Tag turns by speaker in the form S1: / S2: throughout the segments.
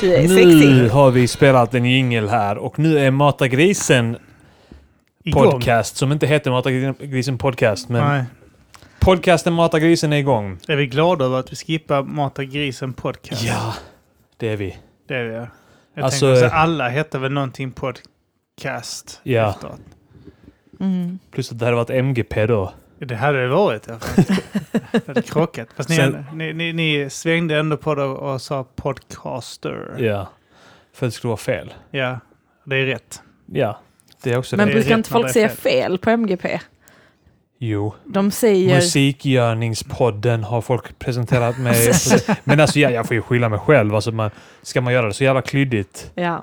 S1: Du är
S2: Nu
S1: Typ, eh, sexig.
S2: har vi spelat en jingel här och nu är Mata Grisen
S3: Igång.
S2: podcast, som inte heter Mata Grisen podcast, men
S3: Nej.
S2: podcasten Mata Grisen är igång.
S3: Är vi glada över att vi skippar Mata grisen podcast?
S2: Ja, det är vi.
S3: Det är vi. Jag
S2: Alltså,
S3: tänker också,
S2: eh,
S3: alla hette väl någonting podcast
S2: Ja.
S3: efteråt.
S1: Mm.
S2: Plus att det hade varit MGP då.
S3: Det hade det varit i alla fall. Det hade krockat. Fast ni,
S2: Sen-
S3: ni, ni, ni svängde ändå på det och sa podcaster.
S2: Ja. För att det skulle vara fel.
S3: Ja, det är rätt.
S2: Ja, det är också
S1: Men
S2: det.
S3: bru-
S1: brukar
S3: rätt
S1: inte
S3: när
S1: folk
S3: det är
S1: säga
S3: fel.
S1: fel på MGP?
S2: Jo.
S1: De säger...
S2: Musikgörningspodden har folk presenterat mig. men alltså jag, jag får ju skylla mig själv. Alltså, man, ska man göra det så jävla klyddigt
S1: Ja.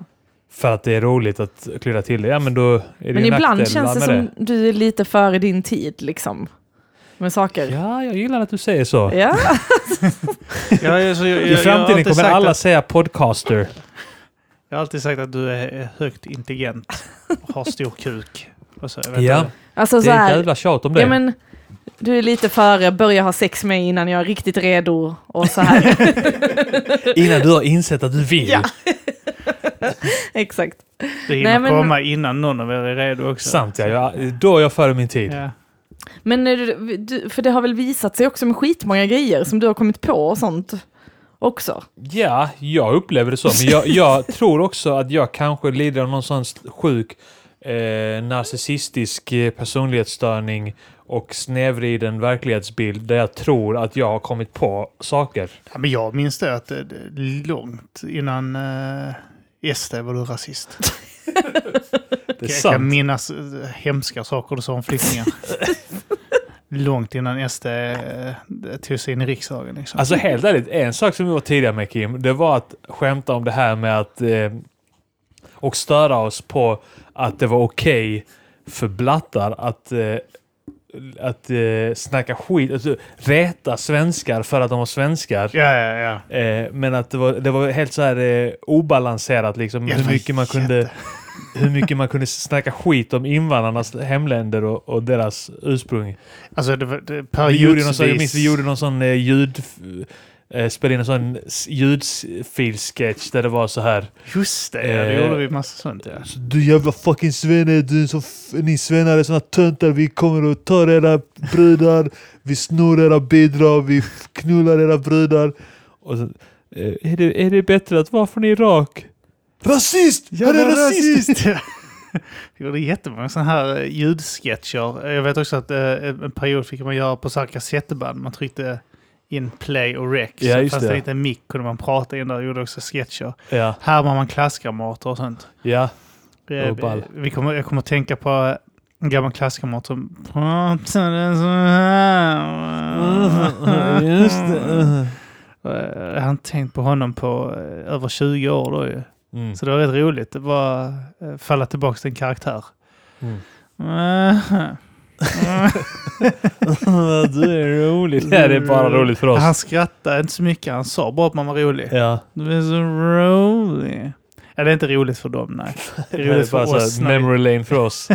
S2: för att det är roligt att klydda till det, ja men då är det
S1: Men
S2: ju
S1: ibland
S2: nackdelar
S1: känns det
S2: med
S1: som du är lite före din tid liksom. Med saker.
S2: Ja, jag gillar att du säger så.
S1: Ja.
S3: Jag, är så- jag, jag,
S2: I
S3: jag har
S2: framtiden
S3: alltid
S2: kommer
S3: sagt
S2: alla
S3: Att,
S2: säga podcaster.
S3: jag har alltid sagt att du är högt intelligent och har stor kuk. Och så, jag vet
S2: Ja.
S3: inte.
S1: Alltså
S2: Det
S1: så
S2: är ett
S1: här,
S2: jävla tjat om det.
S1: ja men du är lite före, börja ha sex med innan jag är riktigt redo och så här.
S2: Innan du har insett att du vill.
S1: Ja. Exakt.
S3: Det hinner
S1: men-
S3: komma innan någon av er är redo också.
S2: Sant ja, jag, då är jag före min tid.
S3: Ja.
S1: Men är du- du, för det har väl visat sig också med skitmånga grejer som du har kommit på och sånt också.
S2: Ja, jag upplever det så. Men jag, jag tror också att jag kanske lider av någon sån sjuk eh, narcissistisk eh, personlighetsstörning och snävriden verklighetsbild där jag tror att jag har kommit på saker.
S3: Ja, men jag minns det att det, det, långt innan eh, SD var du rasist.
S2: Det är
S3: Jag kan
S2: sant.
S3: minnas eh, hemska saker du sa om flyktingar. Långt innan SD eh, tog sig in i riksdagen. Liksom.
S2: Alltså helt ärligt, en sak som vi var tidiga med Kim, det var att skämta om det här med att eh, och störa oss på att det var okej för blattar att eh, att eh, snacka skit, alltså, räta svenskar för att de var svenskar.
S3: ja, ja, ja.
S2: Eh, men att det var, det var helt så här eh, obalanserat liksom.
S3: Ja, det
S2: hur,
S3: var
S2: mycket man kunde,
S3: jätte-
S2: hur mycket man kunde snacka skit om invandrarnas hemländer och, och deras ursprung.
S3: Alltså, det var det,
S2: Vi gjorde någon,
S3: periodsvis...
S2: sån- jag minns vi gjorde någon sån eh, ljud... Eh, spelade in en sån s- ljudfil-sketch där det var så här.
S3: Just det, ja, det
S2: Eh,
S3: gjorde vi massa sånt. Ja.
S2: Så, Alltså, Du jävla fucking svenne, du är så f- ni svennar är såna töntar, vi kommer att ta era brudar, vi snor era bidrag, vi f- knullar era brudar. Och så, eh, är, det, är det bättre att vara från Irak? Rasist! Han är rasist!
S3: Vi gjorde jättemånga sådana här eh, ljudsketcher. Eh, Jag vet också att eh, en en period fick man göra på så här kassettband. Man tryckte in play och rec.
S2: Ja,
S3: så
S2: just
S3: fanns det
S2: det.
S3: inte en mick kunde man prata in där. Jag gjorde också sketcher.
S2: Ja,
S3: Här var man klasskamrater och sånt.
S2: ja.
S3: Eh,
S2: Och ball.
S3: Vi kommer, jag kommer att tänka på en gammal klasskamrat som pratade så här.
S2: Just det.
S3: Eh, Jag har inte tänkt på honom på eh, över 20 år då ju.
S2: Mm.
S3: Så det var rätt roligt. Det var eh, falla tillbaka till en karaktär.
S2: Mm.
S3: Mhm.
S2: du är rolig. Ja, det är bara roligt för oss.
S3: Han skrattade inte så mycket. Han sa bara att man var rolig.
S2: Ja.
S3: Du är så rolig. Ja, det är inte roligt för dem, nej. Det är
S2: Det
S3: roligt
S2: är bara
S3: för
S2: så
S3: oss.
S2: här,
S3: när vi-
S2: memory lane för oss.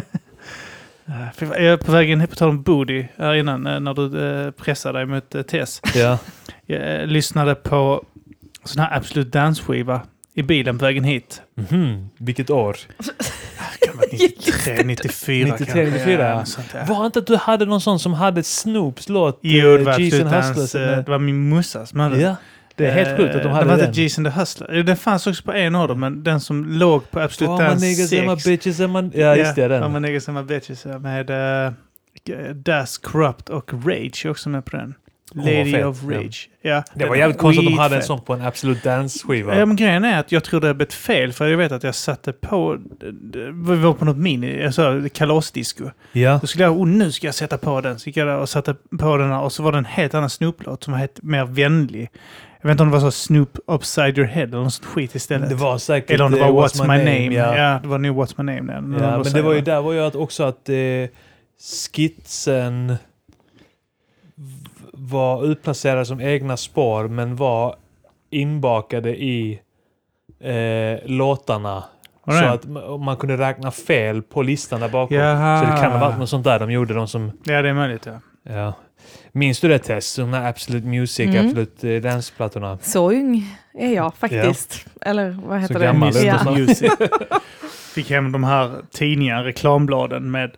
S3: Ah, fy fan, Jag är på vägen, på tal om Bodhi, här innan eh, när du eh, pressade dig mot eh, Tess.
S2: Ja.
S3: Jag eh, lyssnade på sån här Absolut Dance-skiva i bilen på vägen hit.
S2: Mhm. Vilket år?
S3: Det kan vara 93, 94
S2: 93,
S3: kanske.
S2: 94, ja.
S3: något sånt där.
S2: Var inte att du hade någon sån som hade Snoops låt?
S3: Jo, det var
S2: eh, G's
S3: Absolut
S2: and Hustlers,
S3: Dance. eh,
S2: eller?
S3: Det var min morsas man.
S2: Ja. Det är helt sjukt att de
S3: Det
S2: hade
S3: var
S2: den.
S3: inte G's and the Hustler. Eh, Den fanns också på en av dem, men den som låg på Absolut
S2: Var man
S3: Dance
S2: niggas är
S3: 6.
S2: man bitches är man... Ja, just det.
S3: Var
S2: Den.
S3: man niggas är man bitches ja, med uh, Das Corrupt och Rage är också med på den.
S2: Åh, vad
S3: Lady
S2: fett,
S3: of
S2: ja.
S3: Rage. Ja.
S2: Det
S3: den
S2: var jävligt konstigt att de hade en
S3: skitfett.
S2: sån på en Absolute Dance-skiva.
S3: Ja, men grejen är att jag tror det är ett fel, för jag vet att jag satte på... Vi var på något mini, alltså kalasdisco.
S2: Ja.
S3: Då skulle jag, oh, nu ska jag sätta på den. Så gick jag där och satte på den här, och så var det en helt annan Snoop-låt som var helt mer vänlig. Jag vet inte om det var så Snoop Upside Your Head eller något sånt skit istället.
S2: Det var säkert...
S3: eller om det
S2: eh,
S3: var What's My Name. Ja.
S2: Ja.
S3: det var nu What's My Name. Den,
S2: Ja, men det var ju där var ju att också att eh, skitsen v- var utplacerade som egna spår men var inbakade i eh, låtarna.
S3: Var
S2: Så
S3: det?
S2: att ma- man kunde räkna fel på listan där bakom.
S3: Jaha.
S2: Så det kan ha varit något sånt där de gjorde, de som
S3: Ja, det är möjligt. Ja.
S2: Ja. Minns du det Tess? De här Absolute Music,
S1: Mm.
S2: Absolute eh, Dance-plattorna.
S1: Så ung är jag faktiskt. Eller vad heter
S2: Så
S1: det?
S2: gammal
S3: Mr.
S2: eller
S1: ja.
S2: något
S3: Music. Fick hem de här tidningarna, reklambladen med...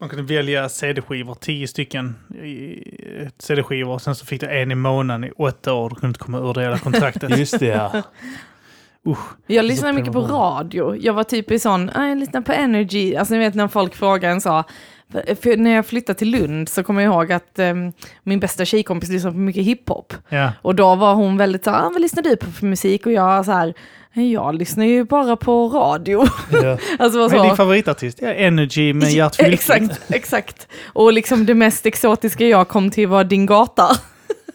S3: Man kunde välja CD-skivor, tio stycken eh, CD-skivor. Sen så fick du en i månaden i åtta år. Du kunde inte komma ur det hela kontraktet.
S2: Just det ja.
S1: Jag lyssnade mycket på
S2: prenumererar.
S1: radio. Jag var typ i sån, "Ah, jag lyssnar på Energy. Alltså ni vet när folk frågar en så. För när jag flyttade till Lund så kommer jag ihåg att ehm, min bästa tjejkompis lyssnade på mycket hiphop.
S3: ja.
S1: Och då var hon väldigt så här, "Ah, vad lyssnar du på för musik? Och jag så här, "Eh, jag lyssnar ju bara på radio.
S2: ja.
S1: alltså var
S3: Vad är din
S1: så.
S3: favoritartist? Ja, Energy med Gert Fylking.
S1: Exakt, exakt. Och liksom det mest exotiska jag kom till var Din gata.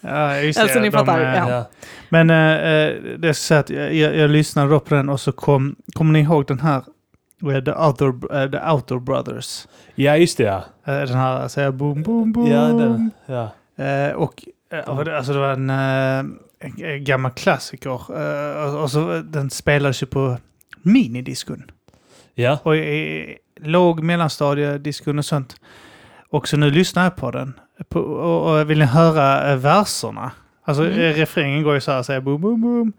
S3: Ja, just det.
S1: Alltså, ni
S3: De,
S1: fattar,
S3: eh,
S1: ja.
S3: Men eh, eh, det är så att jag, jag, jag lyssnade då på den och så kom... Kommer ni ihåg den här? eh, The, other, eh, the Outer Brothers.
S2: ja, just det ja.
S3: Eh, Den här säger boom, boom, boom.
S2: Ja, den. Ja.
S3: Eh, och eh, och det- alltså det var en, eh, en- en gammal klassiker. Eh, och, och så, eh, den spelades ju på minidiskon.
S2: ja.
S3: Och i låg mellanstadiediskon och sånt. Och så nu lyssnar jag på den. På, och, och vill ni höra eh, verserna? Alltså
S1: Mm.
S3: eh, refrängen går ju så här, säger boom, boom, boom.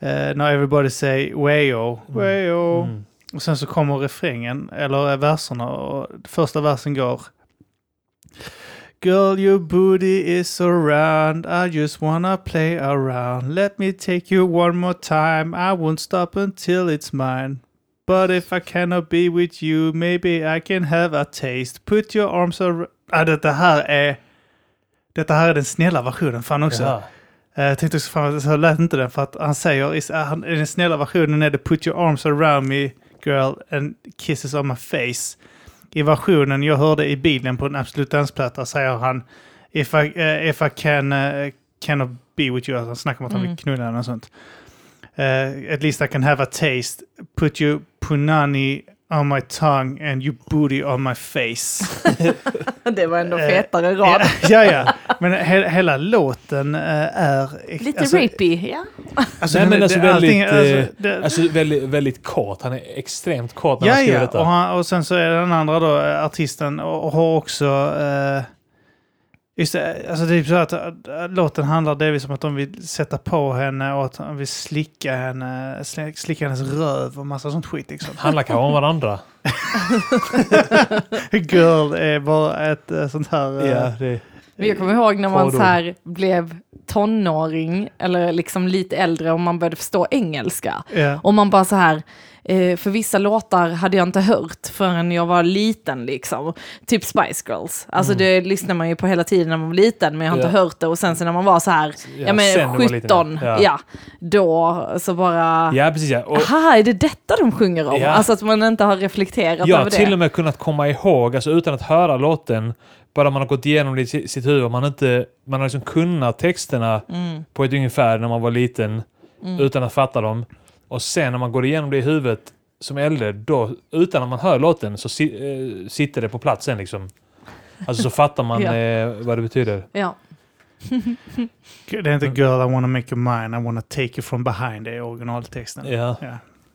S3: Eh, now everybody say wayo, wayo.
S2: Mm.
S3: Och sen så kommer refrängen, eller verserna, och första versen går... Girl your booty is so round, I just wanna play around. Let me take you one more time, I won't stop until it's mine. But if I cannot be with you, maybe I can have a taste. Put your arms around... Ah, detta här är... Detta här är den snälla versionen fan också.
S2: Ja.
S3: Eh, Jag tänkte också, fan, så lät inte den för att han säger i han, i den snälla versionen är det put your arms around me girl and kisses on my face. I versionen jag hörde i bilen på en Absolut dansplatta säger han if I, eh, if I can eh, cannot be with you. Alltså, han snackar om att han
S1: Mm.
S3: vill knulla henne och sånt. Eh, at least I can have a taste. Put your punani on my tongue and your booty on my face.
S1: Det var ändå
S3: Eh,
S1: fetare rad.
S3: ja, ja. Men he, hela låten eh, är...
S1: Lite
S3: alltså,
S1: rapey, ja.
S3: Alltså,
S2: Nej,
S3: den-
S2: men alltså
S3: det- allting-
S2: väldigt,
S3: alltså, det-
S2: Alltså väldigt, väldigt kort. Han är extremt kort när
S3: Ja,
S2: han skriver
S3: ja.
S2: detta.
S3: Och, han, och sen så är den andra då, eh, artisten, och, och har också... Eh, just det, alltså det är typ så att eh, låten handlar delvis om att de vill sätta på henne och att han vill slicka henne, sli- slicka hennes röv och massa sånt skit liksom.
S2: Handlar kanske om varandra.
S3: Girl är bara ett eh, sånt här... eh,
S2: Ja, det,
S1: Men jag kommer ihåg när man
S2: Kodord.
S1: så här blev tonåring eller liksom lite äldre och man började förstå engelska.
S3: ja.
S1: Och man bara så här, eh, för vissa låtar hade jag inte hört förrän jag var liten liksom. Typ Spice Girls. Alltså det lyssnar man ju på hela tiden när man var liten men jag har inte
S2: Mm. Ja.
S1: hört det. Och sen så när man var så här, ja,
S2: Ja,
S1: men
S2: sen när man var liten,
S1: 17, ja.
S2: ja.
S1: då så bara,
S2: ja, precis ja. Och,
S1: aha är det detta de sjunger om?
S2: Ja.
S1: Alltså att man inte har reflekterat
S2: Jag har
S1: över det.
S2: till och med kunnat komma ihåg, alltså utan att höra låten, bara man har gått igenom det i si- sitt huvud. Man, har inte, man har liksom kunnat texterna
S1: Mm.
S2: på ett ungefär när man var liten, utan att fatta dem. Och sen när man går igenom det i huvudet som äldre, då, utan att man hör låten, så si, eh, sitter det på platsen liksom. Alltså så fattar man
S1: Ja.
S2: eh, vad det betyder.
S1: Ja.
S3: Det är
S2: Mm.
S3: inte Girl I wanna make you mine, I wanna take you from behind, det är originaltexten.
S2: Ja.
S3: Ja.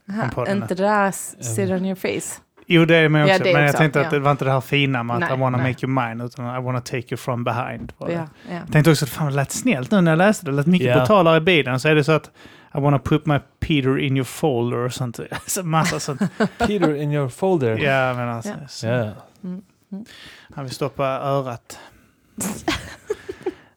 S1: Aha,
S3: på den.
S1: inte det där sit on your face.
S3: Jo, det är med
S1: Ja,
S3: också.
S1: det är
S3: men jag
S1: också,
S3: tänkte
S1: ja.
S3: att det var inte det här fina med att
S1: Nej,
S3: I wanna
S1: nej.
S3: make you mine, utan I wanna take you from behind. var det.
S1: Ja, ja.
S3: Jag tänkte också att fan, det lät snällt nu när jag läste det. Det lät mycket
S2: Ja.
S3: brutalare i bilen. Så är det så att I wanna put my Peter in your folder och sånt. Alltså, massa sånt.
S2: Peter in your folder.
S3: Ja, men alltså.
S1: Ja.
S3: Så,
S2: Ja.
S3: Han vill stoppa örat.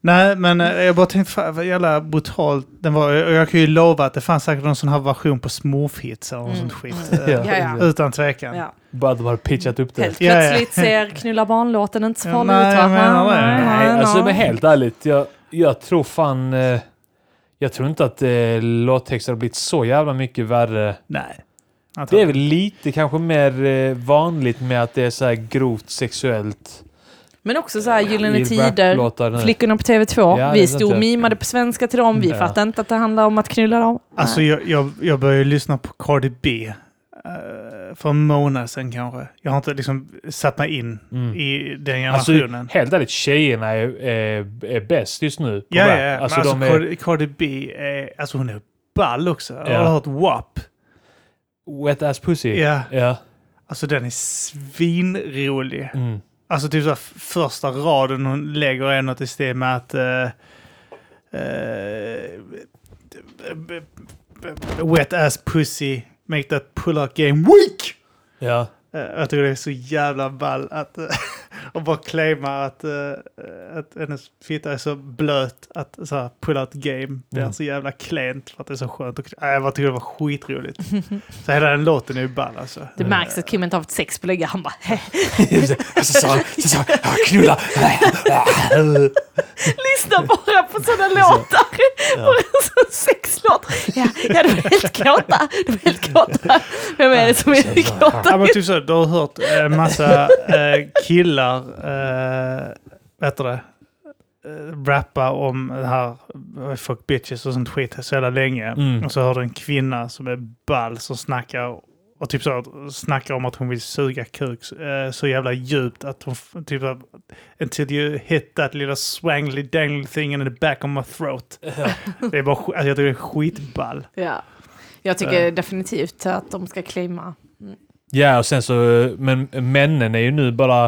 S3: Nej, men eh, jag bara tänkte, fan vad jävla brutalt den var. Och jag kan ju lova att det fanns säkert någon sån här version på smurfhits eller något
S1: Mm.
S3: sånt skit.
S2: Ja.
S3: Eh,
S1: Ja, ja.
S3: Utan tvekan.
S1: Ja.
S2: Bara att de har pitchat upp det.
S1: Helt
S3: Ja, ja.
S1: plötsligt ser knulla barn-låten inte så
S3: Ja,
S1: farlig
S3: nej,
S1: ut va?
S3: jag menar det.
S1: Nej,
S2: Nej,
S1: nej,
S2: alltså
S1: nej.
S2: men helt ärligt. Jag, jag tror fan... Eh, jag tror inte att eh, låttexter har blivit så jävla mycket värre.
S3: Nej.
S2: Det är väl lite kanske mer eh, vanligt med att det är så här grovt sexuellt.
S1: Men också så här Gyllene
S2: i
S1: Tider,
S2: raplåtar nu.
S1: Flickorna på TV2.
S2: Ja, det är
S1: vi
S2: sant,
S1: stod och
S2: ja.
S1: mimade på svenska till dem, vi
S2: Ja.
S1: fattade inte att det handlade om att knulla dem.
S3: Alltså
S1: Nej.
S3: jag, jag, jag började lyssna på Cardi B eh, för en månad sedan kanske. Jag har inte liksom satt mig in
S2: Mm.
S3: i den
S2: Alltså,
S3: generationen.
S2: helt ärligt, tjejerna är, är, är bäst just nu. på
S3: ja, ja,
S2: rap.
S3: ja.
S2: Alltså,
S3: men alltså
S2: de är,
S3: Cardi, Cardi B, är, alltså hon är ball också. Jag
S2: Ja.
S3: har hört WAP.
S2: wet ass pussy.
S3: Ja.
S2: Ja.
S3: Alltså den är svinrolig.
S2: Mm.
S3: Alltså typ så här, f- första raden hon lägger är något i stil med att... eh, eh, b- b- b- wet ass pussy, make that pull-out game weak!
S2: Ja.
S3: Eh, Jag tycker det är så jävla ball att eh, och bara claima att, eh, att hennes fitta är så blöt att så här, pull out game blir
S2: Mm.
S3: så jävla klent för att det är så skönt. Och, äh, jag bara tycker det var skitroligt. så hela den låten är ju ball alltså.
S1: Det märks att Kim inte har haft sex på länge. Han bara
S2: så sa han, så sa han, "Ah, knulla.
S1: lyssnar bara på sådana låtar. På en sån sexlåt. Ja, ja, de är helt kåta. De är helt kåta. Vem är det som är kåta?
S3: Ja, men typ så, du har hört eh, massa eh, killar, eh, vad heter det, eh, rappa om det här eh, fuck bitches och sånt skit så jävla länge.
S2: Mm.
S3: Och så hör du en kvinna som är ball som snackar och typ så snackar om att hon vill suga kuk eh, så jävla djupt att hon f- typ så här, until you hit that little swangly dangly thing in the back of my throat. Det är bara, sk- alltså, jag tycker det är skitball.
S1: Ja. Jag tycker definitivt att de ska claima.
S2: Ja, och sen så, men männen är ju nu bara...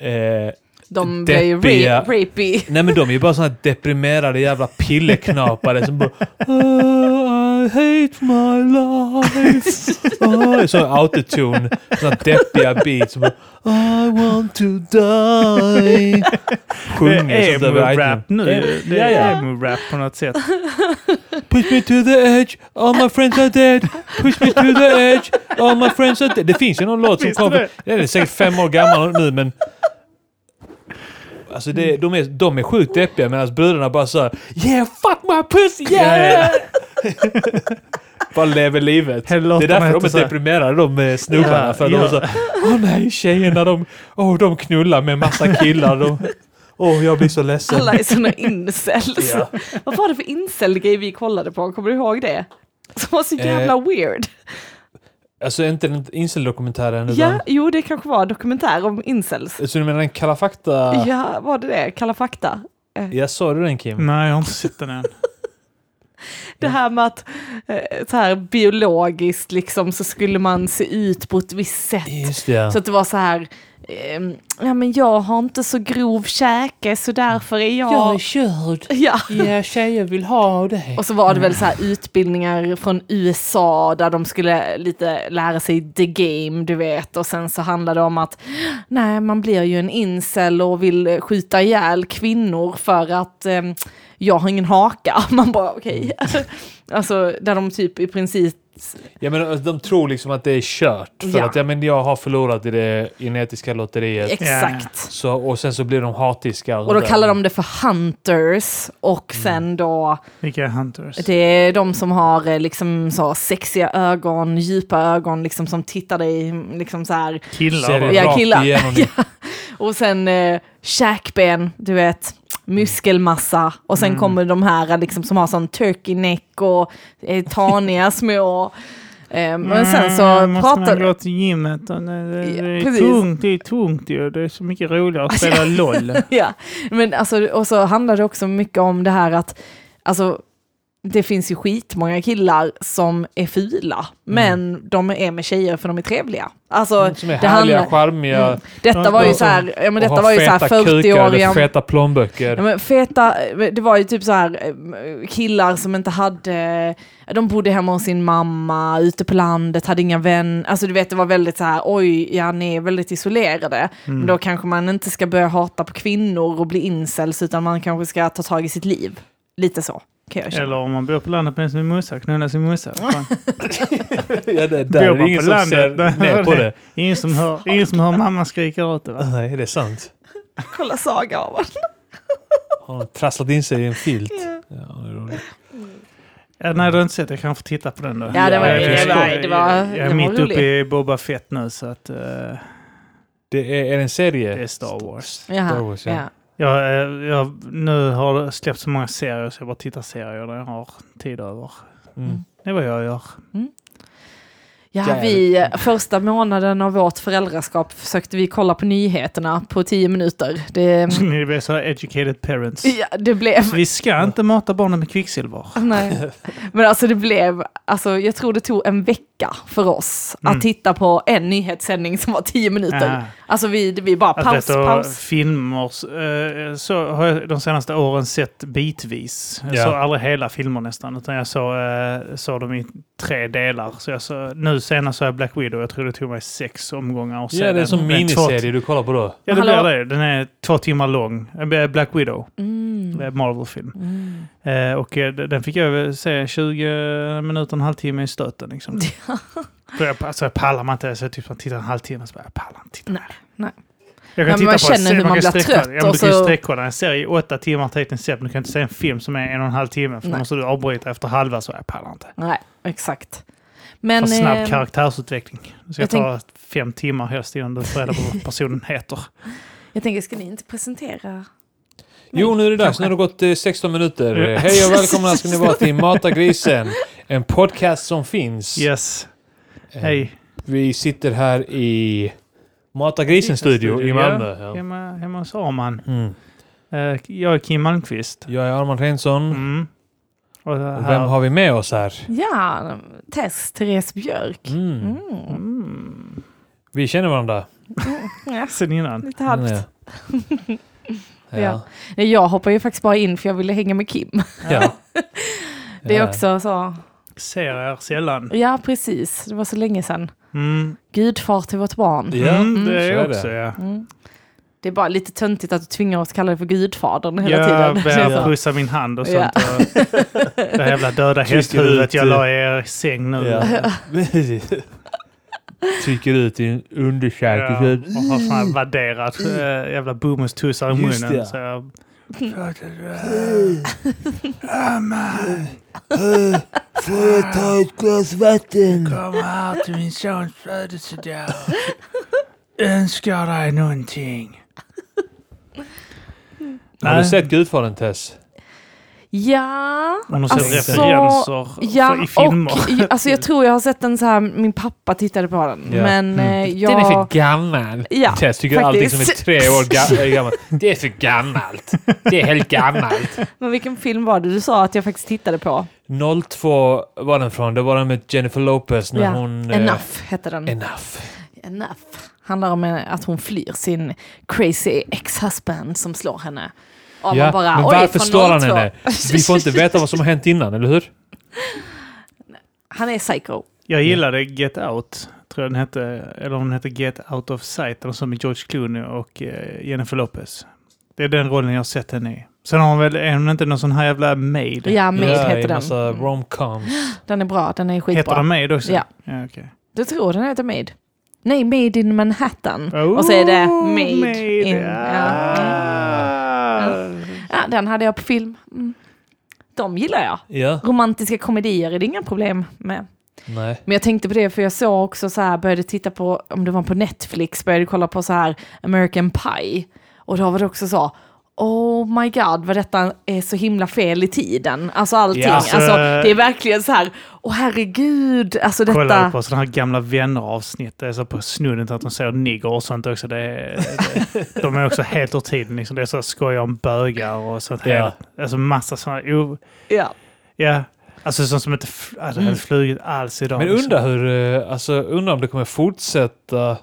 S2: Eh,
S1: De blir ju
S2: Deppiga.
S1: ra- rapey.
S2: nej men de är ju bara såna här deprimerade jävla pilleknapare som bara "Oh, I hate my life. Oh, så autotune, såna deppiga beats. Som bara, I want to die. Sjunger sånt
S3: det är
S2: över
S3: emo-rap
S2: iTunes.
S3: nu. Det
S2: Ja,
S3: är
S2: ja.
S3: emo-rap på något sätt.
S2: Push me to the edge, all my friends are dead. Push me to the edge, all my friends are dead. Det finns ju någon låt som
S3: Visst är
S2: kom för,
S3: det?
S2: den är säkert fem år gammal nu men... Alltså det, de, är, de är sjukt deppiga medan brudarna bara såhär Yeah fuck my pussy yeah!
S3: Ja, ja.
S2: bara lever livet. Det
S3: Hela
S2: är
S3: låtarna
S2: därför
S3: heter
S2: de
S3: så
S2: är
S3: här.
S2: deprimerade de eh, snubbarna.
S3: Ja,
S2: för de
S3: ja.
S2: är såhär Åh nej tjejerna de, åh de knullar med massa killar. de- Åh jag blir så ledsen.
S1: Alla är såna incels.
S2: Ja.
S1: Vad var det för incel-grej vi kollade på? Kommer du ihåg det? Som var så jävla weird.
S2: Alltså inte den incel-dokumentären utan...
S1: Ja, jo det kanske var en dokumentär om incels.
S2: Så du menar den Kalla fakta?
S1: Ja, var det det? Kalla fakta.
S2: Jag sa du den Kim?
S3: Nej, jag har inte sett den än.
S1: Det här med att eh, så här biologiskt liksom så skulle man se ut på ett visst sätt.
S2: Just det.
S1: Så att det var så här, ehm, ja men jag har inte så grov käke så därför är jag...
S2: körd.
S1: Ja.
S2: Ja, tjejer vill ha dig.
S1: Och så var det väl så här utbildningar från USA där de skulle lite lära sig the game, du vet. Och sen så handlade det om att nej, man blir ju en incel och vill eh, skjuta ihjäl kvinnor för att eh, jag har ingen haka. Man bara okej. alltså där de typ i princip,
S2: Ja, men de tror liksom att det är kört. För
S1: Ja.
S2: att ja, men jag har förlorat i det genetiska lotteriet.
S1: exakt.
S2: Så, och sen så blir de hatiska.
S1: Och då
S2: sånt där.
S1: kallar de det för hunters och sen då
S3: Vilka är Hunters?
S1: Det är de som har eh, liksom så sexiga ögon, djupa ögon, liksom som tittar dig liksom så här.
S2: Ser
S3: Killar
S2: det
S3: bara.
S1: Ja,
S2: rakt
S1: killar.
S2: igenom din-
S1: Och sen eh, käkben, du vet, muskelmassa. Och
S2: Mm.
S1: sen kommer de här eh, liksom som har sån turkey neck och eh, taniga små. Eh, men sen
S2: Mm,
S1: så
S3: Mm, Måste man
S1: pratar...
S3: gå till gymmet? och Det, det,
S1: Ja,
S3: det är
S1: precis. Alltså,
S3: tungt, det är tungt ju. Det är så mycket roligare att spela LOL.
S1: Ja, men alltså, och så handlar det också mycket om det här att, alltså, det finns ju skitmånga killar som är
S2: Mm.
S1: fula, men de är med tjejer för de är trevliga. Alltså,
S2: Som är
S1: det
S2: härliga,
S1: handlar-
S2: charmiga.
S1: Mm. Detta var ju
S2: Mm. Och
S1: så
S2: som-
S1: här, ja, men
S2: och
S1: detta
S2: har
S1: var ju så här
S2: feta kukar eller
S1: 40-åriga...
S2: feta plånböcker.
S1: Ja, men feta, det var ju typ så här eh, killar som inte hade, de bodde hemma hos sin mamma, ute på landet, hade inga vänner. Alltså du vet, det var väldigt så här, oj, ja ni är väldigt isolerade.
S3: Mm.
S1: Men då kanske man inte ska börja hata på kvinnor och bli incels, utan man kanske ska ta tag i sitt liv. Lite så, kan jag känna.
S3: Eller om man bor på landet med sin morsa, knulla sin morsa. Fan.
S2: ja, det, där
S3: Bor
S2: är det
S3: man
S2: ingen
S3: på
S2: som
S3: landet?
S2: ser ner på det.
S3: Ingen som hör, ingen som hör mamma skrika åt det va?
S2: Nej, det är sant.
S1: Kolla Saga av honom.
S2: Har de trasslat in sig i en filt? Ja, det är roligt.
S3: Ja, nej, du har inte sett det. Jag kan få titta på den då.
S1: Ja, det var-
S3: Jag-
S2: det
S3: jag-
S2: var-
S1: det var-
S3: jag- Jag
S1: det
S3: är
S1: var
S3: mitt uppe i
S1: roligt.
S3: Boba Fett nu så att eh, det
S2: Det är, är det en serie?
S3: är Star Wars.
S2: Star
S1: Jaha,
S2: Wars, ja.
S1: ja.
S3: Jag, eh, jag, nu har det släppt så många serier så jag bara tittar serier när jag har tid över.
S2: Mm.
S3: Det är vad jag gör.
S1: Ja, vi, första månaden av vårt föräldraskap försökte vi kolla på nyheterna på tio minuter. Det,
S3: Ni blir så här educated parents.
S1: ja, det blev
S3: Så vi ska inte mata barnen med kvicksilver.
S1: Nej. Men alltså det blev, alltså jag
S2: Mm.
S1: tror det tog en vecka för oss att titta på en nyhetssändning som var tio minuter.
S3: Ah.
S1: Alltså vi, vi bara
S3: Att
S1: paus,
S3: vet du,
S1: paus.
S3: filmer eh, så har jag de senaste åren sett bitvis. Jag
S2: Ja.
S3: såg aldrig hela filmer nästan, utan jag såg, eh, såg dem i tre delar. Så jag såg, nu senast såg jag Black Widow. Jag tror det tog mig sex omgångar att se
S2: Ja, det är
S3: den.
S2: som
S3: Den är två-
S2: miniserie du kollar på då.
S3: Ja, det
S1: Hallå?
S3: blir det. Den är två timmar lång. Eh, Black Widow,
S1: Mm.
S3: eh, Marvel-film.
S1: Mm.
S3: Eh, och eh, d- den fick jag se 20 minuter, en halvtimme i stöten. Liksom. För jag, alltså, jag pallar man inte. Så jag typ man tittar en halvtimme och så bara, jag pallar inte. titta.
S1: Nej, nej.
S3: Jag
S1: men man
S3: en
S1: känner
S3: serie,
S1: hur man
S3: kan
S1: blir
S3: sträckkolla-
S1: trött
S3: Ja, men
S1: och
S3: du kan ju
S1: så-
S3: sträckkolla en serie i åtta timmar tekniskt sett, men du kan inte se en film som är en och en halv timme. För då
S1: Nej.
S3: måste du avbryta efter halva, så jag pallar inte.
S1: Nej, exakt. Men,
S3: För snabb
S1: eh,
S3: karaktärsutveckling. Så jag,
S1: jag
S3: tar fem timmar helst innan du får reda på vad personen heter.
S1: jag tänker, ska ni inte presentera?
S2: Jo, nu är det dags. Nu har det gått eh, 16 minuter. Eh, Hej och välkomna ska ni vara till Mata Grisen. En podcast som finns.
S3: Yes,
S2: Eh,
S3: hej.
S2: Vi sitter här i Mata Grisen studio i
S3: Ja,
S2: Malmö. Ja.
S3: Hemma, hemma hos Arman.
S2: Mm.
S3: Eh, Jag är Kim Malmqvist.
S2: Jag är Armand Reinsson.
S3: Mm. Och det
S2: Och vem
S3: här...
S2: har vi med oss här?
S1: Ja, Tess, Therese Björk.
S2: Mm.
S1: Mm.
S3: Mm.
S2: Vi känner varandra.
S1: Ja,
S3: Sen innan.
S1: lite halvt.
S2: Ja. Mm,
S1: Ja. Nej, jag hoppade ju faktiskt bara in för jag ville hänga med Kim.
S2: Ja.
S1: Det
S2: Ja.
S1: är också så.
S3: Ser er sällan.
S1: Ja, precis. Det var så länge sedan.
S3: Mm.
S1: Gudfar till vårt barn.
S2: Ja,
S3: Mm, det
S2: så är det.
S3: är också, ja.
S1: Mm. Det är bara lite töntigt att du tvingar oss att kalla dig för gudfadern hela
S3: Jag
S1: tiden. Det är
S2: alltså-
S3: börjar
S1: så.
S3: pussa min hand och
S1: Ja.
S3: sånt. Och det här jävla döda
S2: Trycker ut,
S3: hästhuvudet jag
S2: eh,
S3: la i er säng nu.
S2: Trycker ut din
S3: Ja, och
S2: underkäke.
S3: har sån här värderat eh, jävla bomullstussar i
S2: typ. Just
S3: munnen.
S2: det.
S3: Så jag,
S2: Får jag ta ett glas vatten?
S3: Kom här till min sons födelsedag. Önskar dig någonting.
S2: Har du sett Gudfadern Tess?
S1: Ja,
S3: Hon har sett
S2: Alltså,
S3: referenser för-
S1: ja
S3: i filmer.
S1: och i- alltså jag tror jag har sett den så här, min pappa tittade på den.
S2: Ja.
S1: Men
S3: Mm.
S1: eh, jag...
S2: gammal.
S1: Ja,
S2: Tess tycker
S1: faktiskt.
S2: allting som är tre år ga- är gammalt. Det är för gammalt. Det är helt gammalt.
S1: Men vilken film var det du sa att jag faktiskt tittade på?
S2: 02 var den från. Det var den med Jennifer Lopez när
S1: Ja.
S2: hon... eh,
S1: Enough hette den.
S2: Enough.
S1: Enough. Handlar om eh, att hon flyr sin crazy ex-husband som slår henne. Och
S2: Ja,
S1: man bara,
S2: men
S1: "Oj,
S2: varför
S1: från
S2: slår han
S1: 02."
S2: henne? Vi får inte veta vad som har hänt innan, eller hur?
S1: Han är psycho.
S3: Jag gillade Get Out, tror jag den hette. Eller om den hette Get Out of Sight, eller så med George Clooney och eh, Jennifer Lopez. Det är den rollen jag har sett henne i. Sen har hon väl, är hon inte någon sån här jävla maid?
S1: Ja, Maid
S2: ja, i
S1: heter
S2: massa
S1: den. Mm.
S2: romcoms.
S1: Den är bra, den är
S3: Heter
S1: skitbra.
S3: den maid också?
S1: Ja.
S3: ja okej.
S1: Du tror den heter Maid? Nej, Made in Manhattan.
S3: Oh,
S1: och så är det Maid, in... Ja.
S3: Ah.
S1: ja, den hade jag på film. Mm. De gillar jag.
S2: Ja,
S1: Romantiska komedier är det inga problem med.
S2: nej.
S1: Men jag tänkte på det för jag såg också så här, började titta på, om det var på Netflix, började kolla på så här American Pie. Och då var det också så, oh my god vad detta är så himla fel i tiden. Alltså allting,
S2: Ja, alltså-
S1: alltså, det är verkligen så här, åh herregud, alltså detta.
S3: Kollade på sådana här gamla vänner-avsnitt. Det är så på snudden till att de säger nigger och sånt också. Det är, det, de är också helt ur tiden. Liksom. Det är så skoja om bögar och sånt.
S2: Ja.
S3: Yeah. Alltså massa sådana... Oh,
S1: Ja.
S3: ja. Alltså sånt som inte f- alltså, hade flugit alls idag.
S2: Mm. Men
S3: liksom.
S2: undrar hur, eh, alltså undrar om det kommer fortsätta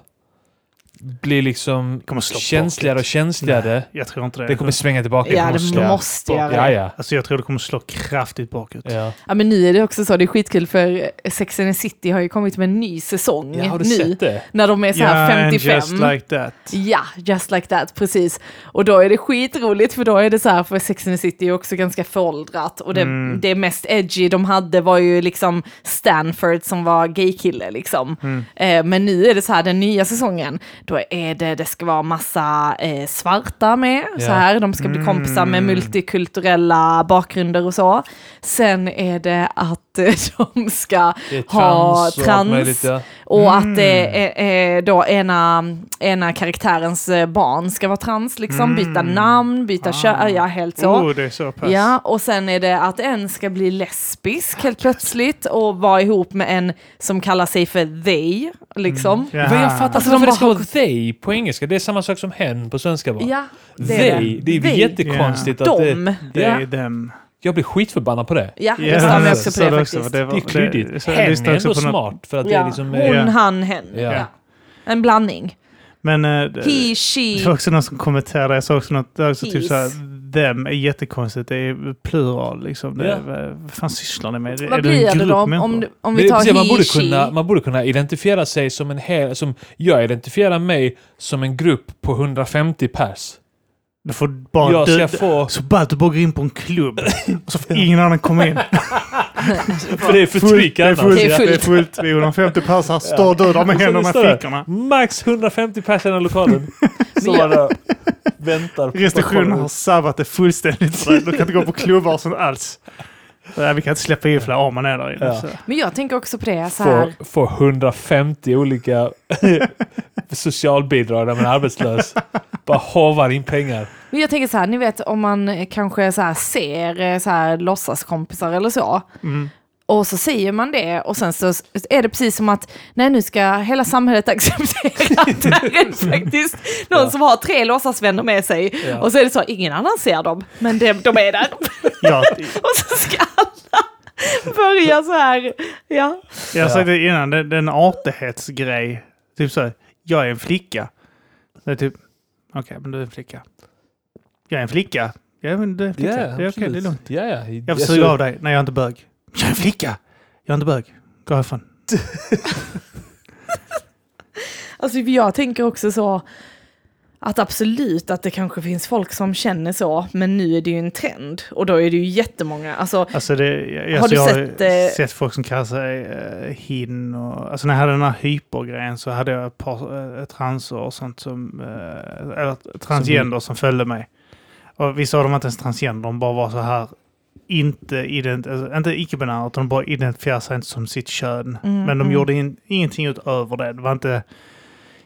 S2: bli liksom
S3: Kommer slå
S2: känsligare och
S3: bakåt.
S2: känsligare.
S3: Jag tror inte det.
S2: Det kommer svänga tillbaka.
S1: Ja,
S2: kommer slå.
S1: det måste jag.
S2: Ja, ja.
S3: Alltså jag tror det kommer slå kraftigt bakåt.
S2: ja.
S1: ja, men nu är det också så, det är skitkul för eh, Sex and the City har ju kommit med en ny säsong
S2: ja har du
S1: nu.
S2: sett det?
S1: När de är så här
S3: Yeah, and
S1: 55.
S3: just like that.
S1: Ja, just like that, precis. Och då är det skitroligt för då är det så här, för Sex and the City är också ganska föråldrat och det,
S2: Mm.
S1: det mest edgy de hade var ju liksom Stanford som var gaykille liksom.
S2: Mm.
S1: Eh, men nu är det så här, den nya säsongen, då är det, det ska vara massa eh, svarta med, så
S2: Ja. Mm.
S1: här, de ska bli kompisar med multikulturella bakgrunder och så. Sen är det att eh, de ska
S2: det är
S1: ha
S2: trans och allt möjligt.
S1: trans.
S2: Ja.
S1: Och att eh, eh, då ena, ena karaktärens eh, barn ska vara trans, liksom byta namn, byta kön, ja helt så.
S3: Oh, det är så pass.
S1: Ja, och sen är det att en ska bli lesbisk helt plötsligt och vara ihop med en som kallar sig för they, liksom.
S3: Jaha.
S2: Vad jag fattar
S1: Alltså,
S2: inte varför
S1: de
S2: det ska
S1: bara-
S2: vara they på engelska. Det är samma sak som hen på svenska va?
S1: Ja, det
S2: they.
S1: är det.
S2: Det är
S1: They.
S2: jättekonstigt att det,
S1: Dom.
S3: Det
S1: Ja,
S3: är dem.
S2: Jag blir skitförbannad på det.
S1: ja
S3: Ja,
S1: jag stör mig också
S3: så
S1: på det
S3: det
S1: faktiskt.
S3: också, det var-
S2: Det är klyddigt.
S3: så jag
S2: hen är
S3: lyssnade också
S2: ändå
S3: på något-
S2: smart för att det liksom
S1: ja.
S2: är liksom... eh,
S1: Hon,
S3: Ja.
S1: han, hen.
S2: Ja.
S1: Ja. En blandning.
S3: Men eh, det
S1: He,
S3: det
S1: she.
S3: var också någon som kommenterade. Jag såg också något. Det var också typ
S1: His.
S3: så här, them är jättekonstigt. Det är plural liksom. Det,
S2: Ja.
S3: vad- Vad fan sysslar ni med?
S1: Vad
S3: är en
S1: blir det
S3: grupp
S1: då om,
S3: människor?
S1: om, du- om
S2: Det
S1: vi
S2: är
S1: tar
S2: precis, man,
S1: he,
S2: borde
S1: she?
S2: kunna, man borde kunna identifiera sig som en hel... Som jag identifierar mig som en grupp på 150 pers.
S3: Du får bara
S2: jag
S3: dö-
S2: ska få...
S3: Så bara att du bara går in på en klubb och så får ingen annan komma in.
S2: För det är förtryck
S3: det är
S2: annars.
S3: fullt.
S1: Det är fullt.
S3: Det är fullt. Vi är 150 pers här. Står du där med
S2: Så
S3: händerna i
S2: det står där.
S3: fickorna?
S2: Max 150 pers i den här lokalen. Som
S1: Men
S2: bara väntar. på-
S3: Restriktionerna har sabbat det fullständigt. för dig. Du kan inte gå på klubbar och sånt alls. Nej, vi kan inte släppa in fler om man är där inne.
S2: Ja.
S3: Så.
S1: Men jag tänker också på det så här.
S2: Får, får 150 olika socialbidrag när man är arbetslös. Bara hovar in pengar.
S1: Men jag tänker så här, ni vet om man eh, kanske så här ser eh, så här låtsaskompisar eller så. Och så säger man det och sen så s- är det precis som att nej nu ska hela samhället acceptera att det är faktiskt någon som har tre låtsasvänner med sig.
S2: Ja.
S1: Och så är det så, ingen annan ser dem, men de, de är där.
S3: Ja,
S1: och så ska alla börja så här. Ja.
S3: jag sa det innan, det, det är en artighetsgrej. Typ så här, jag är en flicka. Det är typ, okej, men du är en flicka. Jag är en flicka. Ja, men du är en
S2: Ja,
S3: flicka. det är okej, det är
S2: absolut.
S3: lugnt.
S2: Ja, ja.
S3: Jag
S2: Jag
S3: får
S2: såg-
S3: suga av dig. Nej, jag är inte bög. Jag är en flicka. Jag är inte bög. Gå härifrån.
S1: Alltså jag tänker också så att absolut att det kanske finns folk som känner så, men nu är det ju en trend och då är det ju jättemånga. Alltså,
S3: Alltså det, jag,
S1: Har
S3: alltså
S1: du
S3: jag
S1: sett, eh,
S3: har sett folk som kallar sig eh, hin och... Alltså när jag hade den här hypergrejen så hade jag ett par eh, transer och sånt som... eh, eller transgender som, följde mig. Och vissa av dem var inte ens transgender, de bara var så här... Inte, ident, alltså, inte icke-binära, utan de bara identifierade sig inte som sitt kön.
S1: Mm,
S3: Men de
S1: mm.
S3: gjorde in, ingenting utöver det. Det var inte...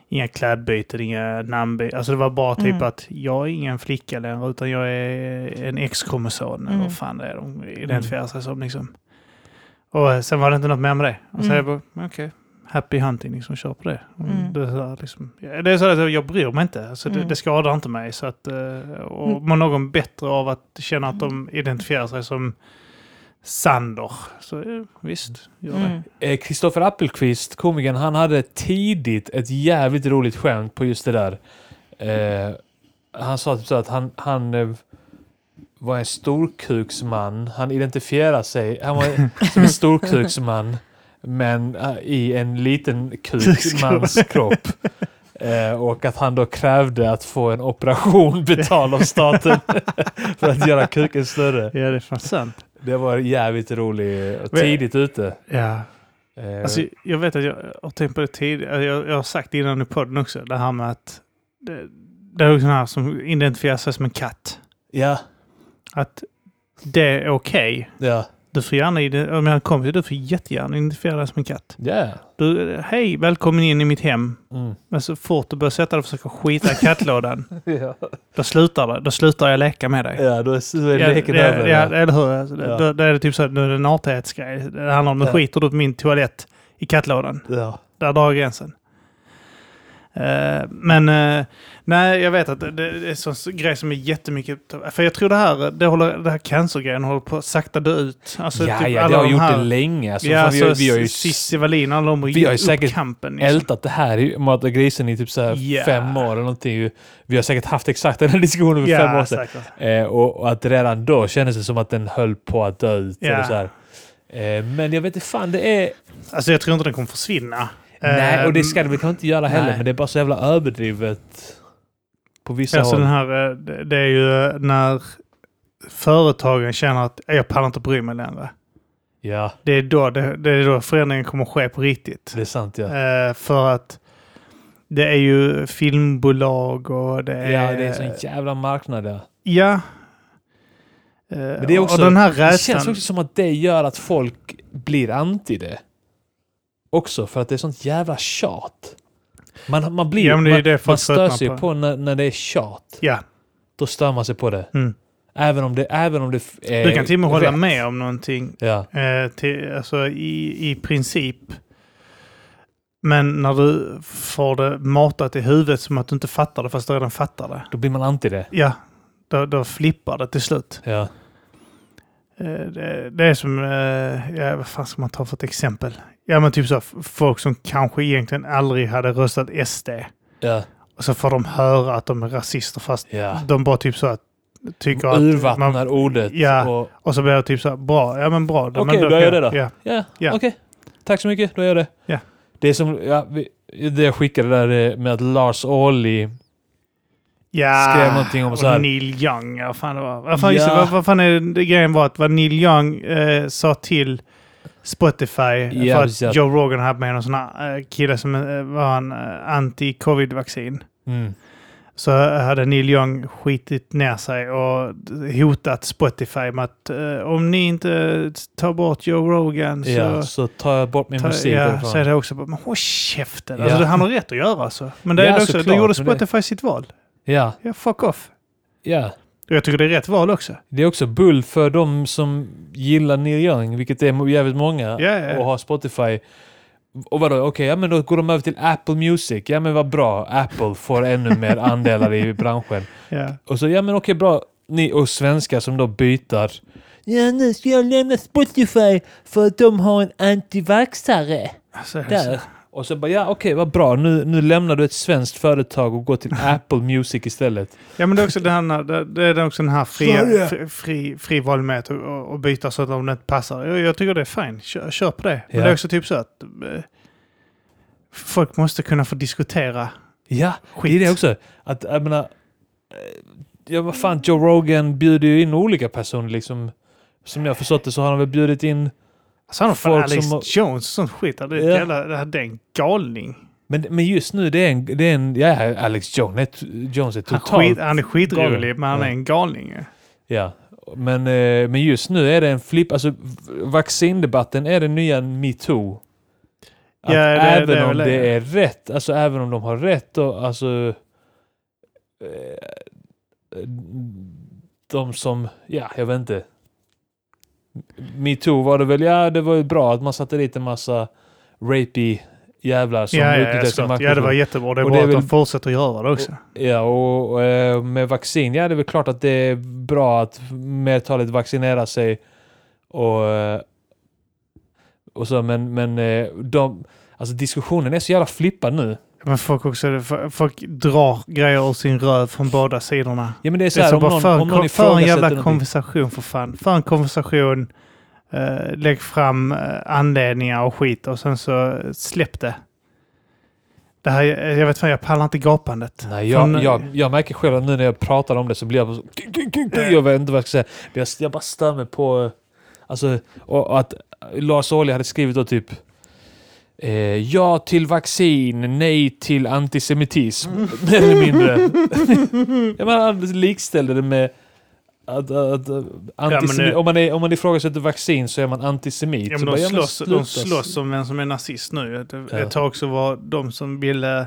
S3: Inga klädbyten, inga namnbyten. Alltså det var bara typ
S1: Mm.
S3: att jag är ingen flicka längre utan jag är en X-kromosom. eller
S1: Mm.
S3: Vad fan det är de identifierar sig som liksom. Och eh, sen var det inte något mer med det. Och så
S1: Mm.
S3: är jag bara, okej. Happy hunting liksom, kör på det. Och
S1: Mm.
S3: Det, är så här, liksom, Ja, det är så att jag bryr mig inte. Alltså, det,
S1: Mm.
S3: det skadar inte mig. Så att, eh, och
S1: Mm.
S3: mår någon bättre av att känna att de identifierar sig som Sander. Så eh, visst, gör det.
S1: Mm.
S2: Eh, Kristoffer Appelqvist, komikern, han hade tidigt ett jävligt roligt skämt på just det där. Eh, han sa typ så att han, han eh, var en storkuksman. Han identifierar sig han var som en storkuksman, men eh, i en liten kukmans kropp. Eh, och att han då krävde att få en operation betald av staten för att göra kuken större.
S3: Ja, det är fan sant.
S2: Det var jävligt roligt och
S3: Men-
S2: tidigt ute.
S3: Ja.
S2: Eh,
S3: Alltså, jag vet att jag har tänkt på det tidigare. alltså, Jag, jag har sagt det innan i podden också. Det här med att det, det är också den här som identifierar sig som en katt.
S2: ja,
S3: Att det är okej.
S2: ja.
S3: Du får gärna, ide- om jag kommer till du får jättegärna identifiera dig som en katt.
S2: Yeah.
S3: Du, hej, välkommen in i mitt hem.
S2: Mm.
S3: Men så fort du börjar sätta dig och försöka skita i kattlådan, då slutar det. Då slutar jag leka med dig.
S2: Ja, då är, då är
S3: Ja,
S2: leken
S3: det-
S2: över.
S3: ja,
S2: ja.
S3: eller hur? Alltså, det-
S2: Ja.
S3: Då, då är det typ så att nu är det en artighetsgrej. Det handlar om,
S2: Ja.
S3: ja. skiter du på min toalett i kattlådan,
S2: Ja.
S3: där drar jag gränsen. Eh, men eh, nej, jag vet att det, det är en sån grej som är jättemycket... För jag tror det här, det håller, det här cancergrejen håller på att sakta dö ut. Alltså,
S2: ja,
S3: typ
S2: ja, det
S3: alla
S2: har
S3: de
S2: gjort
S3: här-
S2: det länge. Alltså,
S3: ja,
S2: fan, vi, har,
S3: alltså,
S2: vi har ju
S3: Cissi Wallin, alla de
S2: vi har ju
S3: upp
S2: säkert
S3: kampen. Liksom.
S2: ältat det här i Mat och grisen i typ så här
S3: Ja.
S2: fem år eller någonting. Vi har säkert haft exakt den här diskussionen för fem år sedan.
S3: säkert.
S2: Eh, och, och att redan då kändes det som att den höll på att dö ut.
S3: Ja.
S2: Eller så här. Eh, men jag vet inte fan, det är...
S3: Alltså jag tror inte den kommer försvinna.
S2: nej,
S3: Eh,
S2: och det ska det väl kanske inte göra heller,
S3: nej.
S2: men det är bara så jävla överdrivet på vissa
S3: Alltså
S2: håll.
S3: den här, eh, det- det är ju eh, när företagen känner att eh, jag pallar inte bry mig längre.
S2: Ja,
S3: Det är då, det, det är då förändringen kommer ske på riktigt.
S2: det är sant ja.
S3: Eh, för att det är ju filmbolag och det är...
S2: Ja, det är en sån jävla marknad ja.
S3: Ja. Eh,
S2: det är också-
S3: och den här
S2: Det känns
S3: rädslan.
S2: också som att det gör att folk blir anti det. Också för att det är sånt jävla tjat. Man, man, blir,
S3: Ja, men det är ju
S2: man,
S3: det folk
S2: man stör
S3: tröttnar
S2: sig
S3: på.
S2: på, när, när det är tjat.
S3: Ja,
S2: Då stör man sig på det.
S3: Mm.
S2: Även om det, även om det f- är
S3: du kan till och med hålla
S2: rätt.
S3: med om någonting
S2: Ja.
S3: Eh, till, alltså i, i princip. Men när du får det matat i huvudet som att du inte fattar det fast du redan fattar det.
S2: Då blir man anti det.
S3: Ja, då, då flippar det till slut.
S2: Ja.
S3: Eh, det, det är som, eh, ja, vad fan ska man ta för ett exempel? Ja men typ så här, f- folk som kanske egentligen aldrig hade röstat SD.
S2: Ja.
S3: Och så får de höra att de är rasister fast
S2: Ja.
S3: de bara typ så att tycker att...
S2: Urvattnar
S3: Man,
S2: ordet.
S3: Ja.
S2: Och,
S3: och så blir det typ så här, bra, ja men bra.
S2: Okej, då gör jag det då.
S3: Ja.
S2: ja,
S3: Ja.
S2: okej. Tack så mycket, då gör jag det.
S3: Ja.
S2: Det är som ja, vi, det jag skickade där eh, med att Lars Ohly
S3: Ja.
S2: Skrev någonting om så här.
S3: Ah. Och Neil Young, ja, vad fan det var. Vad fan, just det,
S2: Ja.
S3: vad, vad fan är det- det, grejen var att vad Neil Young eh, sa till Spotify
S2: Ja,
S3: för att
S2: precis, ja.
S3: Joe Rogan hade med någon sån här eh, kille som eh, var en eh, anti-covid-vaccin.
S2: Mm.
S3: Så hade Neil Young skitit ner sig och hotat Spotify med att eh, om ni inte tar bort Joe Rogan så...
S2: Ja, så tar jag bort min
S3: Ta,
S2: musik
S3: ja,
S2: därifrån.
S3: säger det också. Men håll käften!
S2: Ja.
S3: Alltså, det- han har rätt att göra alltså. Men det
S2: Ja,
S3: är det också, då
S2: såklart,
S3: gjorde
S2: men det-
S3: Spotify sitt val.
S2: Ja,
S3: Ja, fuck off.
S2: ja.
S3: Och jag tycker det är rätt val också.
S2: Det är också bull för de som gillar Neil Young, vilket är mo- jävligt många,
S3: Ja, ja, ja.
S2: och har Spotify. Och vadå, okej, ja men då går de över till Apple Music. Ja men vad bra, Apple får ännu mer andelar i branschen.
S3: Ja.
S2: Och så, ja men okej bra, ni och svenskar som då byter. Ja nu ska jag lämna Spotify för att de har en antivaxare
S3: Alltså,
S2: där. Och så bara, ja okej vad bra, nu, nu lämnar du ett svenskt företag och går till Apple Music istället.
S3: Ja, men det är också den här, det det är också den här fria,
S2: Sverige.
S3: fri, fri, fri valmöjlighet att- att att byta så att om det inte passar. Jag, jag tycker det är fint. Kör, kör på det. Men
S2: Ja.
S3: det är också typ så att eh, folk måste kunna få diskutera
S2: Ja,
S3: skit.
S2: Det är det också. Att, jag menar, eh, ja, vad fan, Joe Rogan bjuder ju in olika personer liksom. Som jag förstått det så har han väl bjudit in...
S3: Alltså, han har fan
S2: Folk
S3: Alex
S2: som-
S3: Jones och sånt skit. Det är, ett
S2: Ja.
S3: jävla, det här- det är en galning.
S2: Men, men just nu, det är en... Det är en ja, Alex Jones, Jones är
S3: Han,
S2: totalt...
S3: skit, han är skitrolig,
S2: galen.
S3: men han är
S2: Ja.
S3: en galning. ju.
S2: Ja. Men, eh, men just nu är det en flipp... Alltså, v- vaccindebatten är den nya metoo. Att
S3: Ja, det-
S2: även
S3: det är
S2: om
S3: väl
S2: det
S3: det.
S2: är rätt, alltså även om de har rätt och alltså... eh, De som, ja, jag vet inte. Metoo var det väl, ja det var ju bra att man satte dit en massa rapey jävlar som
S3: Ja, ja,
S2: utnyttjade
S3: ja,
S2: sin
S3: såklart.
S2: makt.
S3: ja, det var jättebra. Det är
S2: Och
S3: bra
S2: det är
S3: att de
S2: väl-
S3: fortsätter göra det också.
S2: Ja, och, och eh, med vaccin, ja det är väl klart att det är bra att mertalet vaccinerar sig. Och, eh, och så, men, men eh, de, alltså diskussionen är så jävla flippad nu.
S3: Men folk, också, folk drar grejer ur sin röv från båda sidorna.
S2: Ja men det är så
S3: Det är
S2: här,
S3: så
S2: om,
S3: bara
S2: någon,
S3: för,
S2: om någon
S3: för en
S2: ifrågasätter
S3: jävla
S2: någonting.
S3: konversation för fan. För en konversation, eh, lägg fram eh, anledningar och skit och sen så eh, släpp det. Det här, eh, jag vet fan, jag pallar inte gapandet.
S2: Nej, jag,
S3: Från-
S2: jag, jag märker själv att nu när jag pratar om det så blir jag bara så... Jag vet inte vad jag ska säga. Men Jag, jag bara stör mig på... eh, Alltså, och, och att Lars Ohly hade skrivit då typ... Eh, ja till vaccin, nej till antisemitism. Mer eller mindre. jag menar, han likställde det med... Att, att, att, antisemi-
S3: nu-
S2: om, man är, om man ifrågasätter vaccin så är man antisemit.
S3: Ja,
S2: Så
S3: men
S2: bara,
S3: de,
S2: ja, men
S3: slåss, de
S2: sluta.
S3: slåss om vem som är nazist nu. Ett,
S2: Ja.
S3: ett tag också var de som ville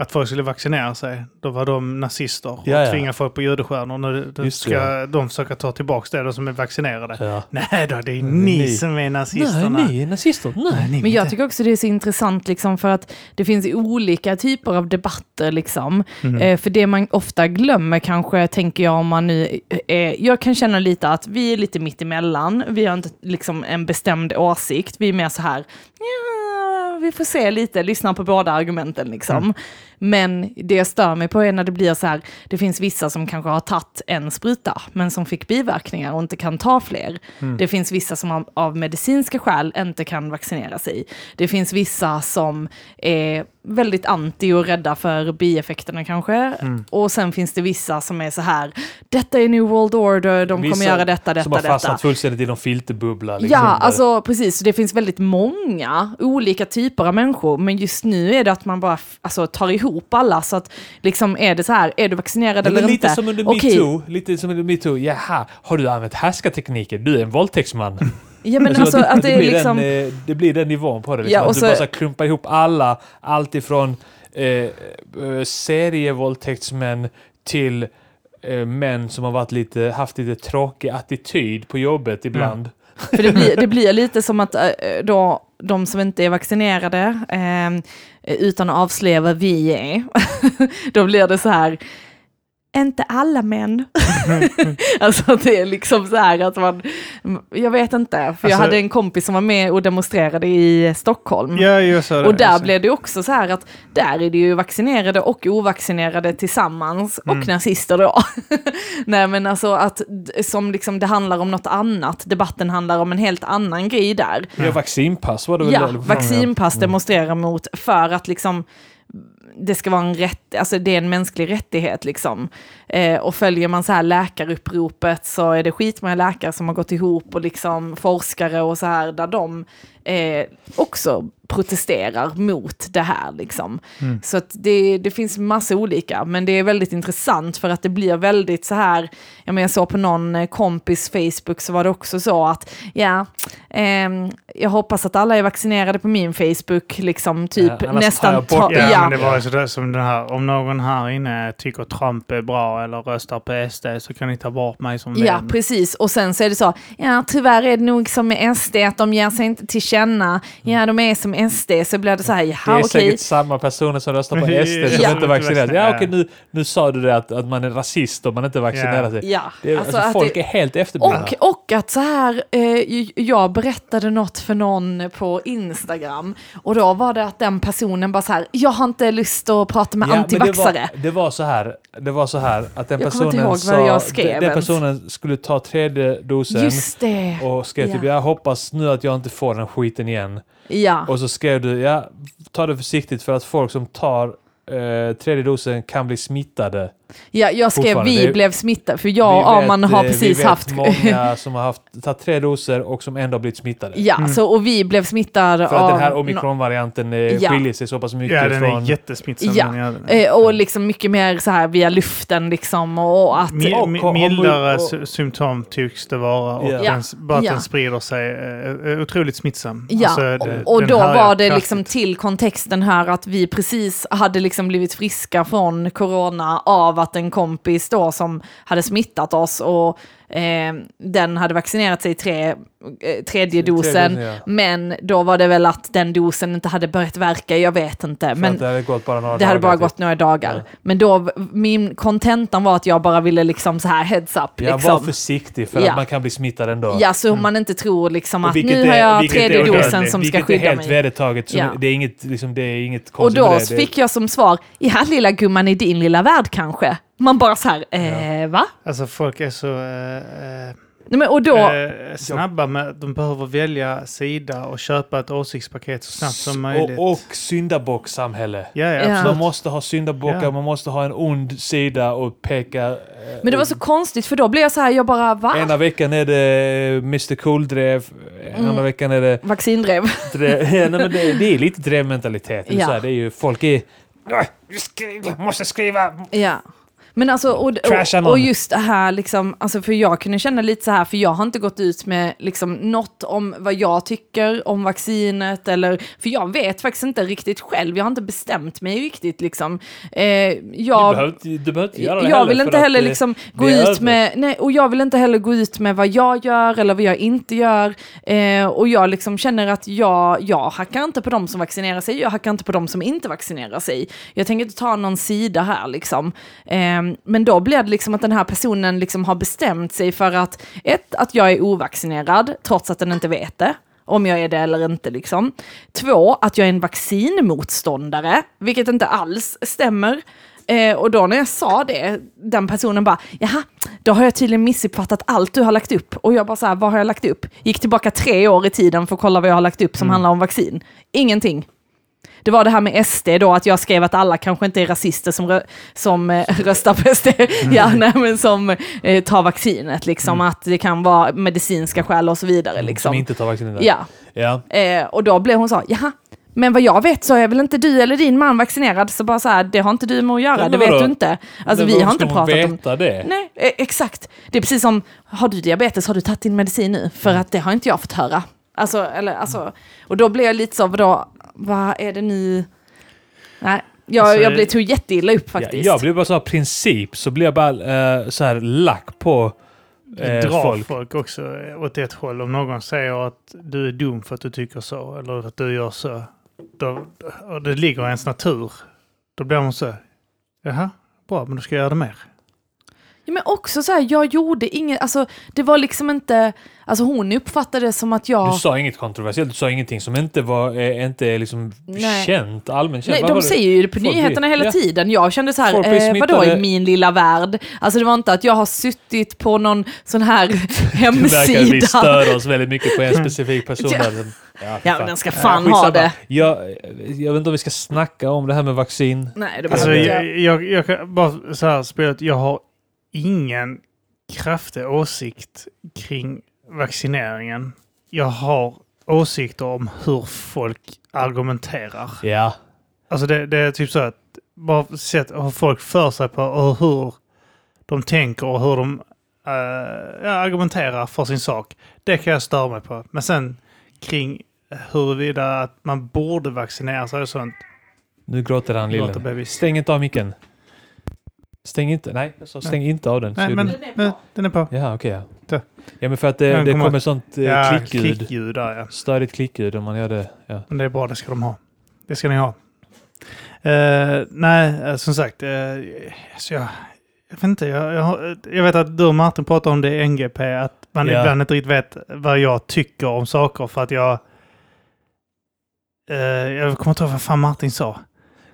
S3: att folk skulle vaccinera sig, då var de nazister och
S2: Ja, ja.
S3: tvingade folk på judestjärnor. Nu nu
S2: Just det,
S3: ska de försöka ta tillbaka det, de som är vaccinerade.
S2: Ja.
S3: Nej då, det är
S2: Ni.
S3: ni, som är nazisterna.
S2: Nej, ni är nazister. Nej.
S3: Nej, ni
S1: Men jag
S3: inte.
S1: tycker också det är så intressant liksom, för att det finns olika typer av debatter. Liksom. Eh, för det man ofta glömmer kanske, tänker jag, om man nu... Eh, jag kan känna lite att vi är lite mitt emellan. Vi har inte liksom, en bestämd åsikt. Vi är mer så här, ja, vi får se lite, lyssna på båda argumenten. Liksom.
S2: Mm.
S1: Men det jag stör mig på är när det blir så här, det finns vissa som kanske har tagit en spruta, men som fick biverkningar och inte kan ta fler.
S2: Mm.
S1: Det finns vissa som av, av medicinska skäl inte kan vaccinera sig. Det finns vissa som är väldigt anti och rädda för bieffekterna kanske.
S2: Mm.
S1: Och sen finns det vissa som är så här, detta är New World Order, de
S2: Vissa
S1: kommer göra detta, detta,
S2: Som har
S1: detta.
S2: fastnat fullständigt i någon filterbubbla. liksom,
S1: Ja,
S2: där.
S1: alltså precis. Så Det finns väldigt många olika typer av människor, men just nu är det att man bara f- alltså, tar ihop alla. Så att liksom är det så här, är du vaccinerad
S2: Men
S1: eller
S2: lite
S1: inte?
S2: Som under
S1: Okej.
S2: metoo, lite som under metoo. Jaha, har du använt härskartekniker? Du är en våldtäktsman.
S1: Ja, men
S2: Så
S1: alltså att det är
S2: blir
S1: liksom...
S2: den, eh, det blir den nivån på det. Liksom.
S1: Ja, och
S2: att du
S1: så-
S2: bara så här klumpar ihop alla, allt ifrån eh, eh, serievåldtäktsmän till eh, män som har varit lite, haft lite tråkig attityd på jobbet ibland.
S1: Mm. För det blir, det blir lite som att eh, då, de som inte är vaccinerade, ehm, eh, utan att avslöja vad vi är, då blir det så här, inte alla män. alltså att det är liksom så här att man, jag vet inte, för jag
S3: Alltså-
S1: hade en kompis som var med och demonstrerade i Stockholm.
S2: Mm.
S3: Ja, jag sa det.
S1: Och där
S3: Alltså.
S1: blev det också så här att där är det ju vaccinerade och ovaccinerade tillsammans och nazister då. Nej men alltså att d- som liksom det handlar om något annat, debatten handlar om en helt annan grej där.
S2: Ja, vaccinpass var det väl?
S1: Mm. Ja,
S2: eller-
S1: vaccinpass demonstrerar mot för att liksom det ska vara en rätt, alltså det är en mänsklig rättighet liksom. Eh, och följer man så här läkaruppropet så är det skitmånga läkare som har gått ihop och liksom forskare och så här där de eh, också protesterar mot det här liksom. Så att det, det finns massa olika, men det är väldigt intressant för att det blir väldigt så här, jag, men jag såg på någon eh, kompis Facebook så var det också så att, ja, ehm, jag hoppas att alla är vaccinerade på min Facebook, liksom typ
S2: Ja, annars tar
S1: nästan
S2: jag bort
S1: ta,
S3: Ja,
S1: ja,
S3: men det var ju sådär som den här, om någon här inne tycker Trump är bra eller röstar på SD så kan ni ta bort mig som
S1: Ja,
S3: vän.
S1: precis. Och sen så är det så, ja tyvärr är det nog som med SD, att de ger sig inte till känna. Ja, de är som SD, så blir det så här,
S2: Det är
S1: jaha okej.
S2: säkert samma personer som röstar på
S3: Ja.
S2: SD som
S1: Ja.
S2: inte vaccinerar sig. Ja,
S3: Ja.
S2: okej, nu, nu sa du det att, att man är rasist om man inte vaccinerar sig.
S1: Ja,
S2: Det är,
S1: alltså
S2: alltså,
S1: att
S2: folk
S1: det-
S2: är helt efterblivna.
S1: Och, och att så här, eh, jag berättade något för någon på Instagram och då var det att den personen bara så här, jag har inte lust att prata med
S2: Ja, men
S1: antivaxare.
S2: Det var, det var så här, det var så här att den
S1: Jag kommer inte
S2: personen
S1: ihåg vad
S2: sa,
S1: jag skrev
S2: den, den
S1: ens.
S2: personen skulle ta tredje dosen
S1: Just det.
S2: och skrev typ
S1: Ja. Ah.
S2: jag hoppas nu att jag inte får den skiten igen.
S1: ja.
S2: Och så skrev du ja, ta det försiktigt för att folk som tar eh, tredje dosen kan bli smittade.
S1: ja, jag skrev
S2: fortfarande,
S1: vi
S2: det-
S1: blev smittade för jag och
S2: Vi vet,
S1: Arman har
S2: eh,
S1: precis
S2: vi vet
S1: haft...
S2: många som har haft, tagit tre doser och som ändå har blivit smittade.
S1: ja, så, och vi blev smittade
S2: Mm. För att
S1: av...
S2: den här
S1: nå-
S2: omikronvarianten eh,
S1: Ja.
S2: skiljer sig så pass mycket
S3: Ja, den
S2: från...
S3: är jättesmittsam.
S1: Ja,
S3: den gör den.
S1: Eh, Och liksom mycket mer så här via luften liksom och att...
S3: Mi-
S2: och-
S3: mi-
S2: och-
S3: mildare
S2: och-
S3: sy- symptom tycks det vara och
S2: Ja.
S3: den, bara att
S1: Ja.
S3: den sprider sig. eh, eh, Otroligt smittsam.
S1: Ja,
S3: Alltså, det-
S1: och- och
S3: den
S1: då
S3: härjar
S1: var det
S3: kraftigt.
S1: liksom till kontexten här att vi precis hade liksom blivit friska från corona av att en kompis då som hade smittat oss och eh, den hade vaccinerat sig i tre, eh, tredje dosen.
S2: dosen, ja.
S1: Men då var det väl att den dosen inte hade börjat verka, jag vet inte.
S2: Men,
S1: Men
S2: det hade gått bara några
S1: det hade
S2: dagar
S1: bara
S2: till.
S1: gått några dagar. Men då, v- min kontentan var att jag bara ville liksom så här heads up.
S2: Ja, var
S1: liksom.
S2: försiktig för
S1: Ja.
S2: att man kan bli smittad ändå.
S1: Ja, så man inte tror liksom
S2: Och
S1: att
S2: vilket
S1: nu har
S2: är-
S1: jag
S2: vilket är
S1: tredje dosen
S2: onödigt,
S1: som ska
S2: Vilket är
S1: skydda
S2: helt
S1: mig.
S2: vedertaget. Så
S1: Ja.
S2: det, är inget, liksom, det är inget
S1: Och
S2: konstigt
S1: då
S2: med det. det.
S1: fick jag som svar, ja lilla gumman i din lilla värld kanske. Man bara så här, eh, va?
S3: Alltså folk är så eh, eh,
S1: Nej, men, och då,
S3: eh, snabba med att de behöver välja sida och köpa ett åsiktspaket så snabbt som möjligt.
S2: Och, och syndabocksamhälle.
S3: ja, ja,
S1: Ja.
S3: absolut.
S2: Man måste ha syndabockar,
S3: Ja.
S2: man måste ha en ond sida och peka... eh,
S1: men det var så konstigt för då blev jag så här, jag bara, va?
S2: Ena veckan är det Mr Cool-drev, eh,
S1: Mm.
S2: andra veckan är det...
S1: Vaccindrev.
S2: drev- ja, nej, men det, det är lite drevmentalitet. Det är
S1: Ja.
S2: så här, Det är ju, folk är... "Ah, jag skri- Måste skriva
S1: Ja. Men alltså, och,
S2: Trasha
S1: och,
S2: någon.
S1: och just det här, liksom, alltså för jag kunde känna lite så här, för jag har inte gått ut med liksom, något om vad jag tycker om vaccinet, eller, för jag vet faktiskt inte riktigt själv, jag har inte bestämt mig riktigt. Liksom. Eh,
S2: Du
S1: jag,
S2: behöver, inte- du behöver inte göra det
S1: jag vill
S2: för
S1: inte
S2: att,
S1: heller
S2: eh,
S1: liksom
S2: det
S1: gå
S2: är
S1: ut
S2: över.
S1: med, nej, och jag vill inte heller gå ut med vad jag gör eller vad jag inte gör. Eh, och jag liksom känner att jag, jag hackar inte på dem som vaccinerar sig, jag hackar inte på dem som inte vaccinerar sig. Jag tänker inte ta någon sida här liksom. Eh, men då blir det liksom att den här personen liksom har bestämt sig för att, ett, att jag är ovaccinerad trots att den inte vet det om jag är det eller inte. Liksom. Två, att jag är en vaccinmotståndare, vilket inte alls stämmer. Eh, och då när jag sa det, den personen bara, jaha, då har jag tydligen missuppfattat allt du har lagt upp. Och jag bara så här, vad har jag lagt upp? Gick tillbaka tre år i tiden för att kolla vad jag har lagt upp som
S2: Mm.
S1: handlar om vaccin. Ingenting. Det var det här med SD då, att jag skrev att alla kanske inte är rasister som, rö- som eh, röstar på SD,
S2: Mm.
S1: ja, nej, men som eh, tar vaccinet, liksom, att det kan vara medicinska skäl och så vidare. Liksom.
S2: Mm, Som inte tar vaccinet.
S1: Ja,
S2: ja.
S1: eh, och då blev hon så, jaha, men vad jag vet så är väl inte du eller din man vaccinerad, så bara så här, det har inte du med att göra,
S2: Men
S1: det vet
S2: vadå?
S1: du inte. Alltså
S2: Men
S1: vi
S2: hur
S1: har
S2: ska
S1: inte
S2: hon
S1: pratat om...
S2: veta det.
S1: Nej, eh, exakt. Det är precis som, har du diabetes, har du tagit din medicin nu? För
S2: Mm.
S1: att det har inte jag fått höra. Alltså, eller, alltså, och då blev jag lite så, vadå, vad är det nu? Nej, jag,
S3: Alltså,
S1: jag blev, tog jätteilla upp faktiskt.
S2: Jag, jag blir bara så här princip, så blir jag bara eh, så här lack på
S3: Det
S2: eh,
S3: drar
S2: folk.
S3: folk. också eh, åt ett håll. Om någon säger att du är dum för att du tycker så eller att du gör så. Då, och det ligger i ens natur. Då blir man så. Jaha, bra, men då ska jag göra det mer.
S1: Ja, men också så här, jag gjorde inget, alltså det var liksom inte, alltså hon uppfattade det som att jag...
S2: Du sa inget kontroversiellt, du sa ingenting som inte var eh, inte är liksom
S1: Nej.
S2: känt, allmänt känt.
S1: Nej,
S2: Vad
S1: de
S2: var det?
S1: säger ju det på
S2: Folk blir-
S1: nyheterna hela
S2: Ja.
S1: tiden. Jag kände så
S2: Folk blir
S1: här, eh, vadå
S2: smittade.
S1: i min lilla värld? Alltså det var inte att jag har suttit på någon sån här
S2: verkar vi
S1: hemsida.
S2: stör oss väldigt mycket på en specifik person.
S1: Mm. Ja.
S2: där. Den- Ja, för
S1: Ja, men
S2: fan.
S1: den ska
S2: Ja,
S1: fan ha
S2: skitsamma.
S1: det.
S2: Jag, jag vet inte om vi ska snacka om det här med vaccin.
S1: Nej, det var
S3: Alltså,
S1: inte.
S3: jag, jag, jag kan bara så här spelet, jag har ingen kraftig åsikt kring vaccineringen. Jag har åsikter om hur folk argumenterar.
S2: Ja.
S3: Alltså det, det är typ så att bara sett hur folk för sig på och hur de tänker och hur de eh, ja, argumenterar för sin sak. Det kan jag störa mig på. Men sen kring huruvida att man borde vaccinera sig och sånt.
S2: Nu gråter han
S3: Låter
S2: lillen.
S3: bebis.
S2: Stäng inte av micken. Stäng inte. Nej, jag sa stäng inte av den. så
S3: Nej
S2: är
S3: men
S2: du-
S1: Den är på.
S3: nu, den är på.
S2: Ja, okej.
S3: Där.
S2: ja. ja, men för att det,
S3: Den
S2: det
S3: kommer-
S2: kommer sånt eh,
S3: Ja,
S2: klickljud.
S3: klickljud där ja.
S2: Störigt klickljud om man gör det. Ja.
S3: Men det är bra, det ska de ha. Det ska ni ha. Eh, nej, eh, som sagt. eh, alltså jag, jag vet inte. Jag, jag, har- jag vet att du och Martin pratar om det i NGP. Att man
S2: Ja.
S3: ibland inte riktigt vet vad jag tycker om saker. För att jag... eh, jag kommer inte ihåg vad fan Martin sa.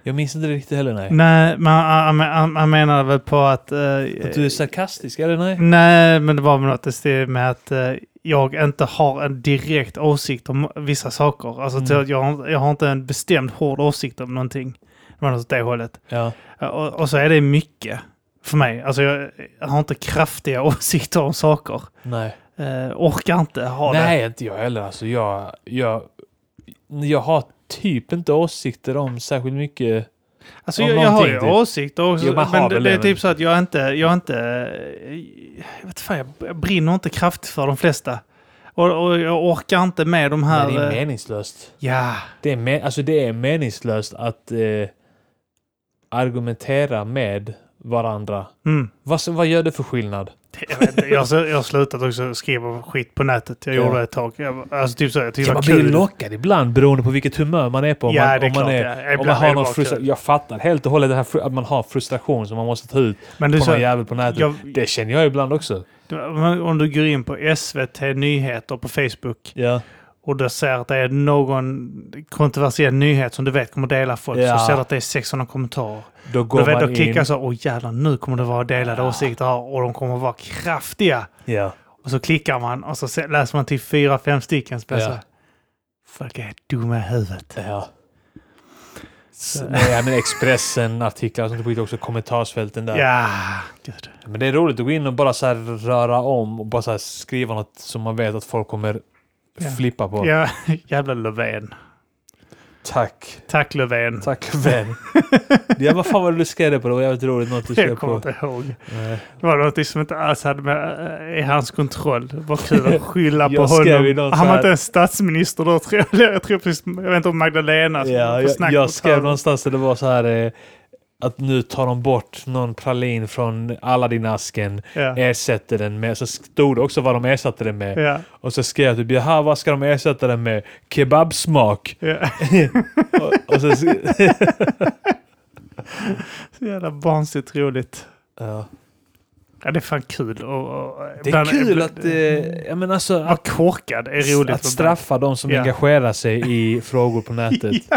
S2: Jag minns inte det riktigt heller, nej.
S3: Nej, men han- han- han han menade väl på att... eh,
S2: Att du är sarkastisk, eller nej?
S3: Mm. Nej, men det var väl något i stil med att eh, jag inte har en direkt åsikt om vissa saker. Alltså
S2: Mm.
S3: till att jag, har- jag har inte en bestämd hård åsikt om någonting. Det var något åt det hållet.
S2: Ja.
S3: Eh, Och, och så är det mycket för mig. Alltså jag, jag har inte kraftiga åsikter om saker.
S2: Nej.
S3: Eh, orkar inte ha det.
S2: Nej, inte jag heller. Alltså, jag, jag, jag har typ inte åsikter om särskilt mycket.
S3: Alltså
S2: Om
S3: jag, jag har ju
S2: någonting, typ.
S3: åsikter också.
S2: Jo, man har
S3: men det,
S2: väl
S3: det är
S2: det, men-
S3: typ så att jag inte... Jag är inte... Jag, vet fan, jag, jag brinner inte kraftigt för de flesta. Och, och jag orkar inte med de här...
S2: Men det är
S3: eh,
S2: meningslöst.
S3: ja.
S2: Det är, me- alltså, det är meningslöst att eh, argumentera med varandra.
S3: Mm.
S2: Vad, vad gör det för skillnad?
S3: Jag, vet inte, jag, har- jag har slutat också skriva skit på nätet. Jag
S2: Ja.
S3: gjorde det ett tag. Jag, alltså typ så, jag tyckte
S2: Ja,
S3: det
S2: man
S3: var
S2: blir
S3: kul.
S2: ju lockad ibland beroende på vilket humör man är på. Om
S3: Ja,
S2: man,
S3: det är
S2: om man,
S3: klart,
S2: är,
S3: ja.
S2: om man
S3: Ibland är
S2: har
S3: det
S2: någon
S3: bara
S2: frustra-
S3: kul.
S2: Jag fattar helt och hållet det här, fru- att man har frustration som man måste ta ut
S3: Men
S2: på
S3: du,
S2: någon
S3: så,
S2: jävel på nätet.
S3: jag,
S2: Det känner jag ibland också.
S3: du- om du går in på SVT Nyheter på Facebook
S2: Ja.
S3: och du ser att det är någon kontroversiell nyhet som du vet kommer dela folk.
S2: Ja.
S3: Så ser du att det är 600 kommentarer.
S2: Då går
S3: du vet,
S2: man
S3: då klickar
S2: in.
S3: så åh jävlar nu kommer det vara delade åsikter här och de kommer vara kraftiga.
S2: Ja.
S3: Och så klickar man och så se- läser man till fyra, fem stycken. Så blir det
S2: Ja.
S3: så här, Folk är dumma i huvudet.
S2: Ja. Så, nej, men Expressen, artiklar och sånt skit också. Kommentarsfälten där.
S3: Ja, gud.
S2: Men det är roligt att gå in och bara så här röra om och bara så här skriva något som man vet att folk kommer
S3: Ja.
S2: flippa på.
S3: Ja, jävla Löfven.
S2: Tack.
S3: Tack Löfven.
S2: Tack vän. ja, vad fan var det du skrev på? Det var jävligt roligt. Något du skrev
S3: Jag kommer
S2: på.
S3: inte ihåg.
S2: Nej.
S3: Det var något som inte alls hade med eh, i hans kontroll. Det var kul att skylla på
S2: Jag skrev ju
S3: honom.
S2: något så
S3: Han var
S2: här-
S3: inte ens statsminister då tror jag. Jag, tror precis, jag vet inte om Magdalena som var
S2: Ja,
S3: på
S2: jag,
S3: snack
S2: jag
S3: mot
S2: skrev
S3: honom.
S2: någonstans där det var så här eh, att nu tar de bort någon pralin från Aladdin-asken,
S3: Ja.
S2: ersätter den med, så stod det också vad de ersatte den med.
S3: Ja,
S2: Och så skrev jag typ jaha, vad ska de ersätta den med? Kebabsmak!
S3: ja.
S2: och, och så...
S3: Så jävla barnsligt roligt.
S2: ja.
S3: Ja, det är fan kul. Och, och,
S2: Det är
S3: ibland-
S2: kul
S3: ibland-
S2: att, eh, jag menar alltså,
S3: Vara
S2: att,
S3: korkad är roligt.
S2: att straffa de som
S3: Ja.
S2: engagerar sig i frågor på nätet.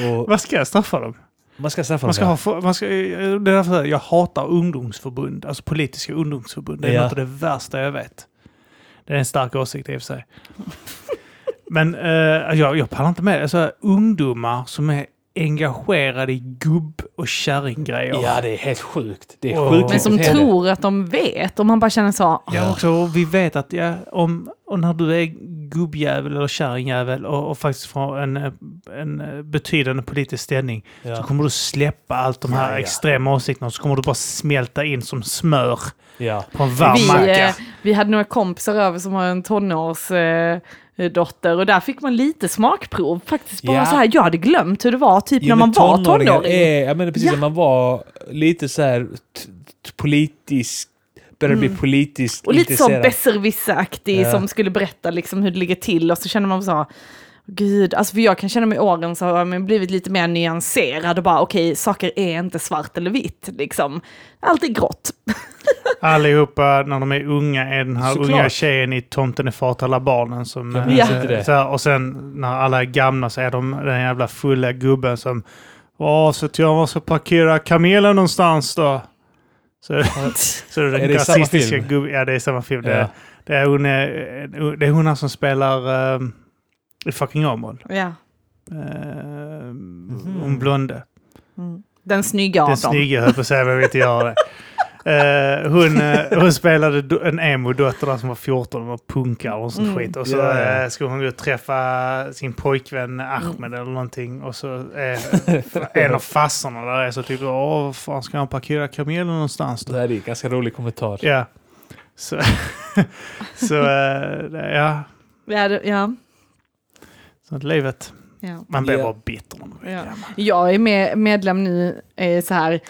S3: Ja.
S2: Och
S3: Vad ska jag straffa dem?
S2: man ska straffa
S3: Man ska
S2: dem.
S3: ha, för- man ska, eh, det är därför jag- jag hatar ungdomsförbund, alltså politiska ungdomsförbund. Det är
S2: Ja.
S3: något av det värsta jag vet. Det är en stark åsikt i och för sig. Men eh, jag, jag pallar inte med det. Alltså, ungdomar som är engagerade i gubb och kärringgrejer.
S2: Ja, det är helt sjukt. Det är
S3: Åh.
S2: sjukt.
S1: Men som
S2: beteende.
S1: tror att de vet, och man bara känner så, "Ah,
S3: Ja,
S2: Ja.
S3: också, och vi vet att ja, om, och när du är gubbjävel eller kärringjävel och, och faktiskt får en, eh, en eh, betydande politisk ställning så
S2: Ja.
S3: kommer du släppa allt de här
S2: Ja, ja.
S3: extrema åsikterna och så kommer du bara smälta in som smör
S2: Ja.
S3: På en varm
S1: vi, eh,
S3: macka.
S1: vi hade några kompisar över som har en tonårsdotter eh, dotter, och där fick man lite smakprov faktiskt. Bara
S2: Ja.
S1: så här, jag hade glömt hur det var typ när
S2: men
S1: man var
S2: tonåringar
S1: tonåring.
S2: Är, jag menar precis,
S1: Ja.
S2: när man var lite så här t- t- politisk, började bli politiskt
S1: Mm. Och lite så
S2: intresserad.
S1: besserwisseraktig
S2: Ja.
S1: som skulle berätta liksom hur det ligger till och så känner man så Gud, alltså för jag kan känna med åren så har man blivit lite mer nyanserad och bara okej, saker är inte svart eller vitt liksom. Allt är grått.
S3: Allihopa när de är unga är den här
S2: Såklart.
S3: unga tjejen i Tomten är fart alla barnen som...
S2: Jag
S3: eh,
S2: minns
S1: Ja.
S2: inte det.
S3: Så här, och sen när alla är gamla så är de den jävla fulla gubben som... Åh, så att jag måste parkera kamelen någonstans då. Så, så är det
S2: Är
S3: den
S2: det i samma
S3: rasistiska
S2: film?
S3: gubben. Ja, det är i samma film. Det,
S2: Ja.
S3: är- det, är hon, eh, det är hon här som spelar eh, i fucking Åmål.
S1: Ja.
S3: Eh,
S2: Mhm.
S3: Hon blonde.
S1: Mm. Den snygga av
S3: Den
S1: dem.
S3: snygga höll på att säga, men jag vill inte göra det. Eh, hon, eh, hon spelade do- en emo-dotter där som var 14 och var punkare och sånt
S1: Mm.
S3: skit. Och så
S2: Ja, ja.
S3: eh, skulle hon gå och träffa sin pojkvän Ahmed eller någonting. Och så eh, en av fassorna där är så typ åh, var fan ska han parkera kamelen någonstans då?
S2: Det här är en ganska rolig kommentar.
S3: Ja. Så, så eh, det- ja,
S1: Ja, det- ja.
S3: sånt är livet.
S1: ja.
S3: Man blir
S2: Ja.
S3: bara bitter när man blir
S1: Ja.
S3: gammal.
S1: Jag är med, medlem nu eh, så här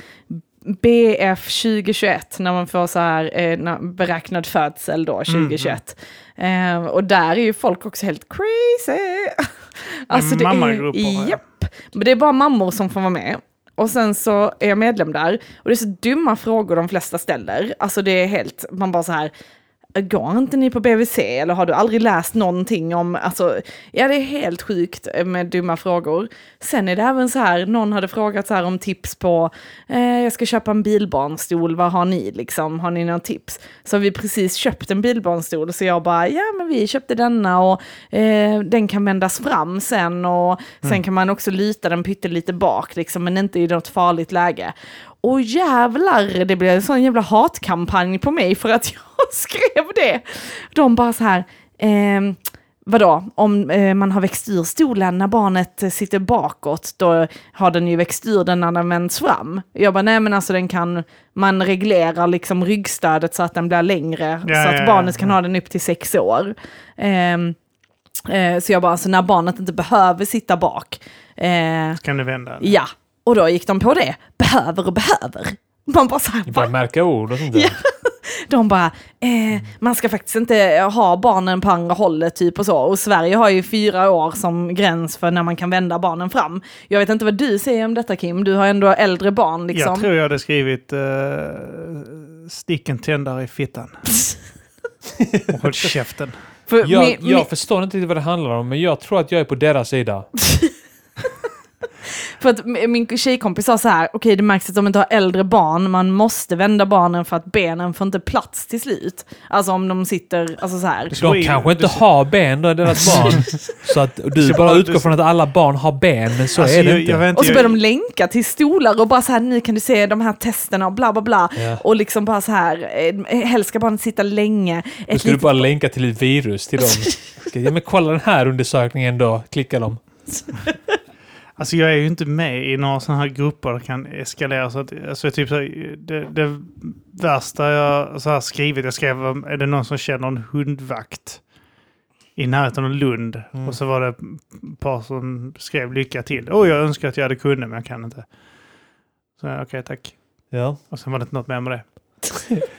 S1: BF 2021 när man får så här eh, na- beräknad födsel då 2021. Eh, och där är ju folk också helt crazy. Alltså,
S3: mammagrupper, ja.
S1: Japp. Men det är bara mammor som får vara med. Och sen så är jag medlem där. Och det är så dumma frågor de flesta ställer. Alltså det är helt, man bara så här, går inte ni på BVC eller har du aldrig läst någonting om, alltså, ja det är helt sjukt med dumma frågor. Sen är det även så här, någon hade frågat så här om tips på, eh, jag ska köpa en bilbarnstol, vad har ni liksom, har ni några tips? Så har vi precis köpt en bilbarnstol, så jag bara, ja men vi köpte denna och eh, den kan vändas fram sen och sen kan man också luta den pyttelite bak liksom, men inte i något farligt läge. Och jävlar, det blev en sån jävla hatkampanj på mig för att jag skrev det. De bara så här, ehm, vadå, om eh, man har växt ur stolen när barnet eh, sitter bakåt, då har den ju växt ur den när den vänds fram. Jag bara, nej men alltså den kan, man reglerar liksom ryggstödet så att den blir längre,
S3: Ja,
S1: så att
S3: ja, ja.
S1: barnet kan ha den upp till sex år. Ehm, eh, så jag bara, alltså när barnet inte behöver sitta bak, eh,
S3: Kan du vända?
S1: Ja, och då gick de på det. Behöver och behöver. Man bara så här,
S2: Ni börjar
S1: va?
S2: märka ord och sånt där.
S1: Ja. De bara, eh, man ska faktiskt inte ha barnen på andra hållet typ och så. Och Sverige har ju fyra år som gräns för när man kan vända barnen fram. Jag vet inte vad du säger om detta Kim, du har ändå äldre barn liksom.
S3: Jag tror jag hade skrivit uh, sticken tändare i fittan. Och håll käften.
S1: För
S2: Jag,
S1: min- min-
S2: jag förstår inte riktigt vad det handlar om, men jag tror att jag är på deras sida.
S1: För att m- min tjejkompis sa så här, okej det märks att de inte har äldre barn, man måste vända barnen för att benen får inte plats till slut. Alltså om de sitter, alltså så här.
S3: slår
S2: De
S3: in-
S2: kanske inte
S3: det-
S2: har ben, då är deras barn. Så att du
S3: Så
S2: bara
S3: bara-
S2: utgår från att alla barn har ben, men typ- så
S3: Alltså,
S2: är det
S3: jag-
S2: inte.
S3: jag vet inte,
S1: Och så
S3: jag-
S1: börjar de länka till stolar och bara så här, nu kan du se de här testerna och bla bla bla.
S2: Ja.
S1: Och liksom bara så här, eh, helst ska barnet sitta länge.
S2: Då
S1: Ett
S2: ska du
S1: litet...
S2: bara länka till ett virus till dem. Ska- Ja, men kolla den här undersökningen då. Klicka dem.
S3: Alltså jag är ju inte med i några sådana här grupper det kan eskalera. Så att, alltså, typ så här, det, det värsta jag så här skrivit, jag skrev om, är det någon som känner en hundvakt i närheten av Lund?
S2: Mm.
S3: Och så var det ett par som skrev lycka till. Åh, jag önskar att jag hade kunnat men jag kan inte. Så okej, tack.
S2: Ja.
S3: Och sen var det inte något mer med det.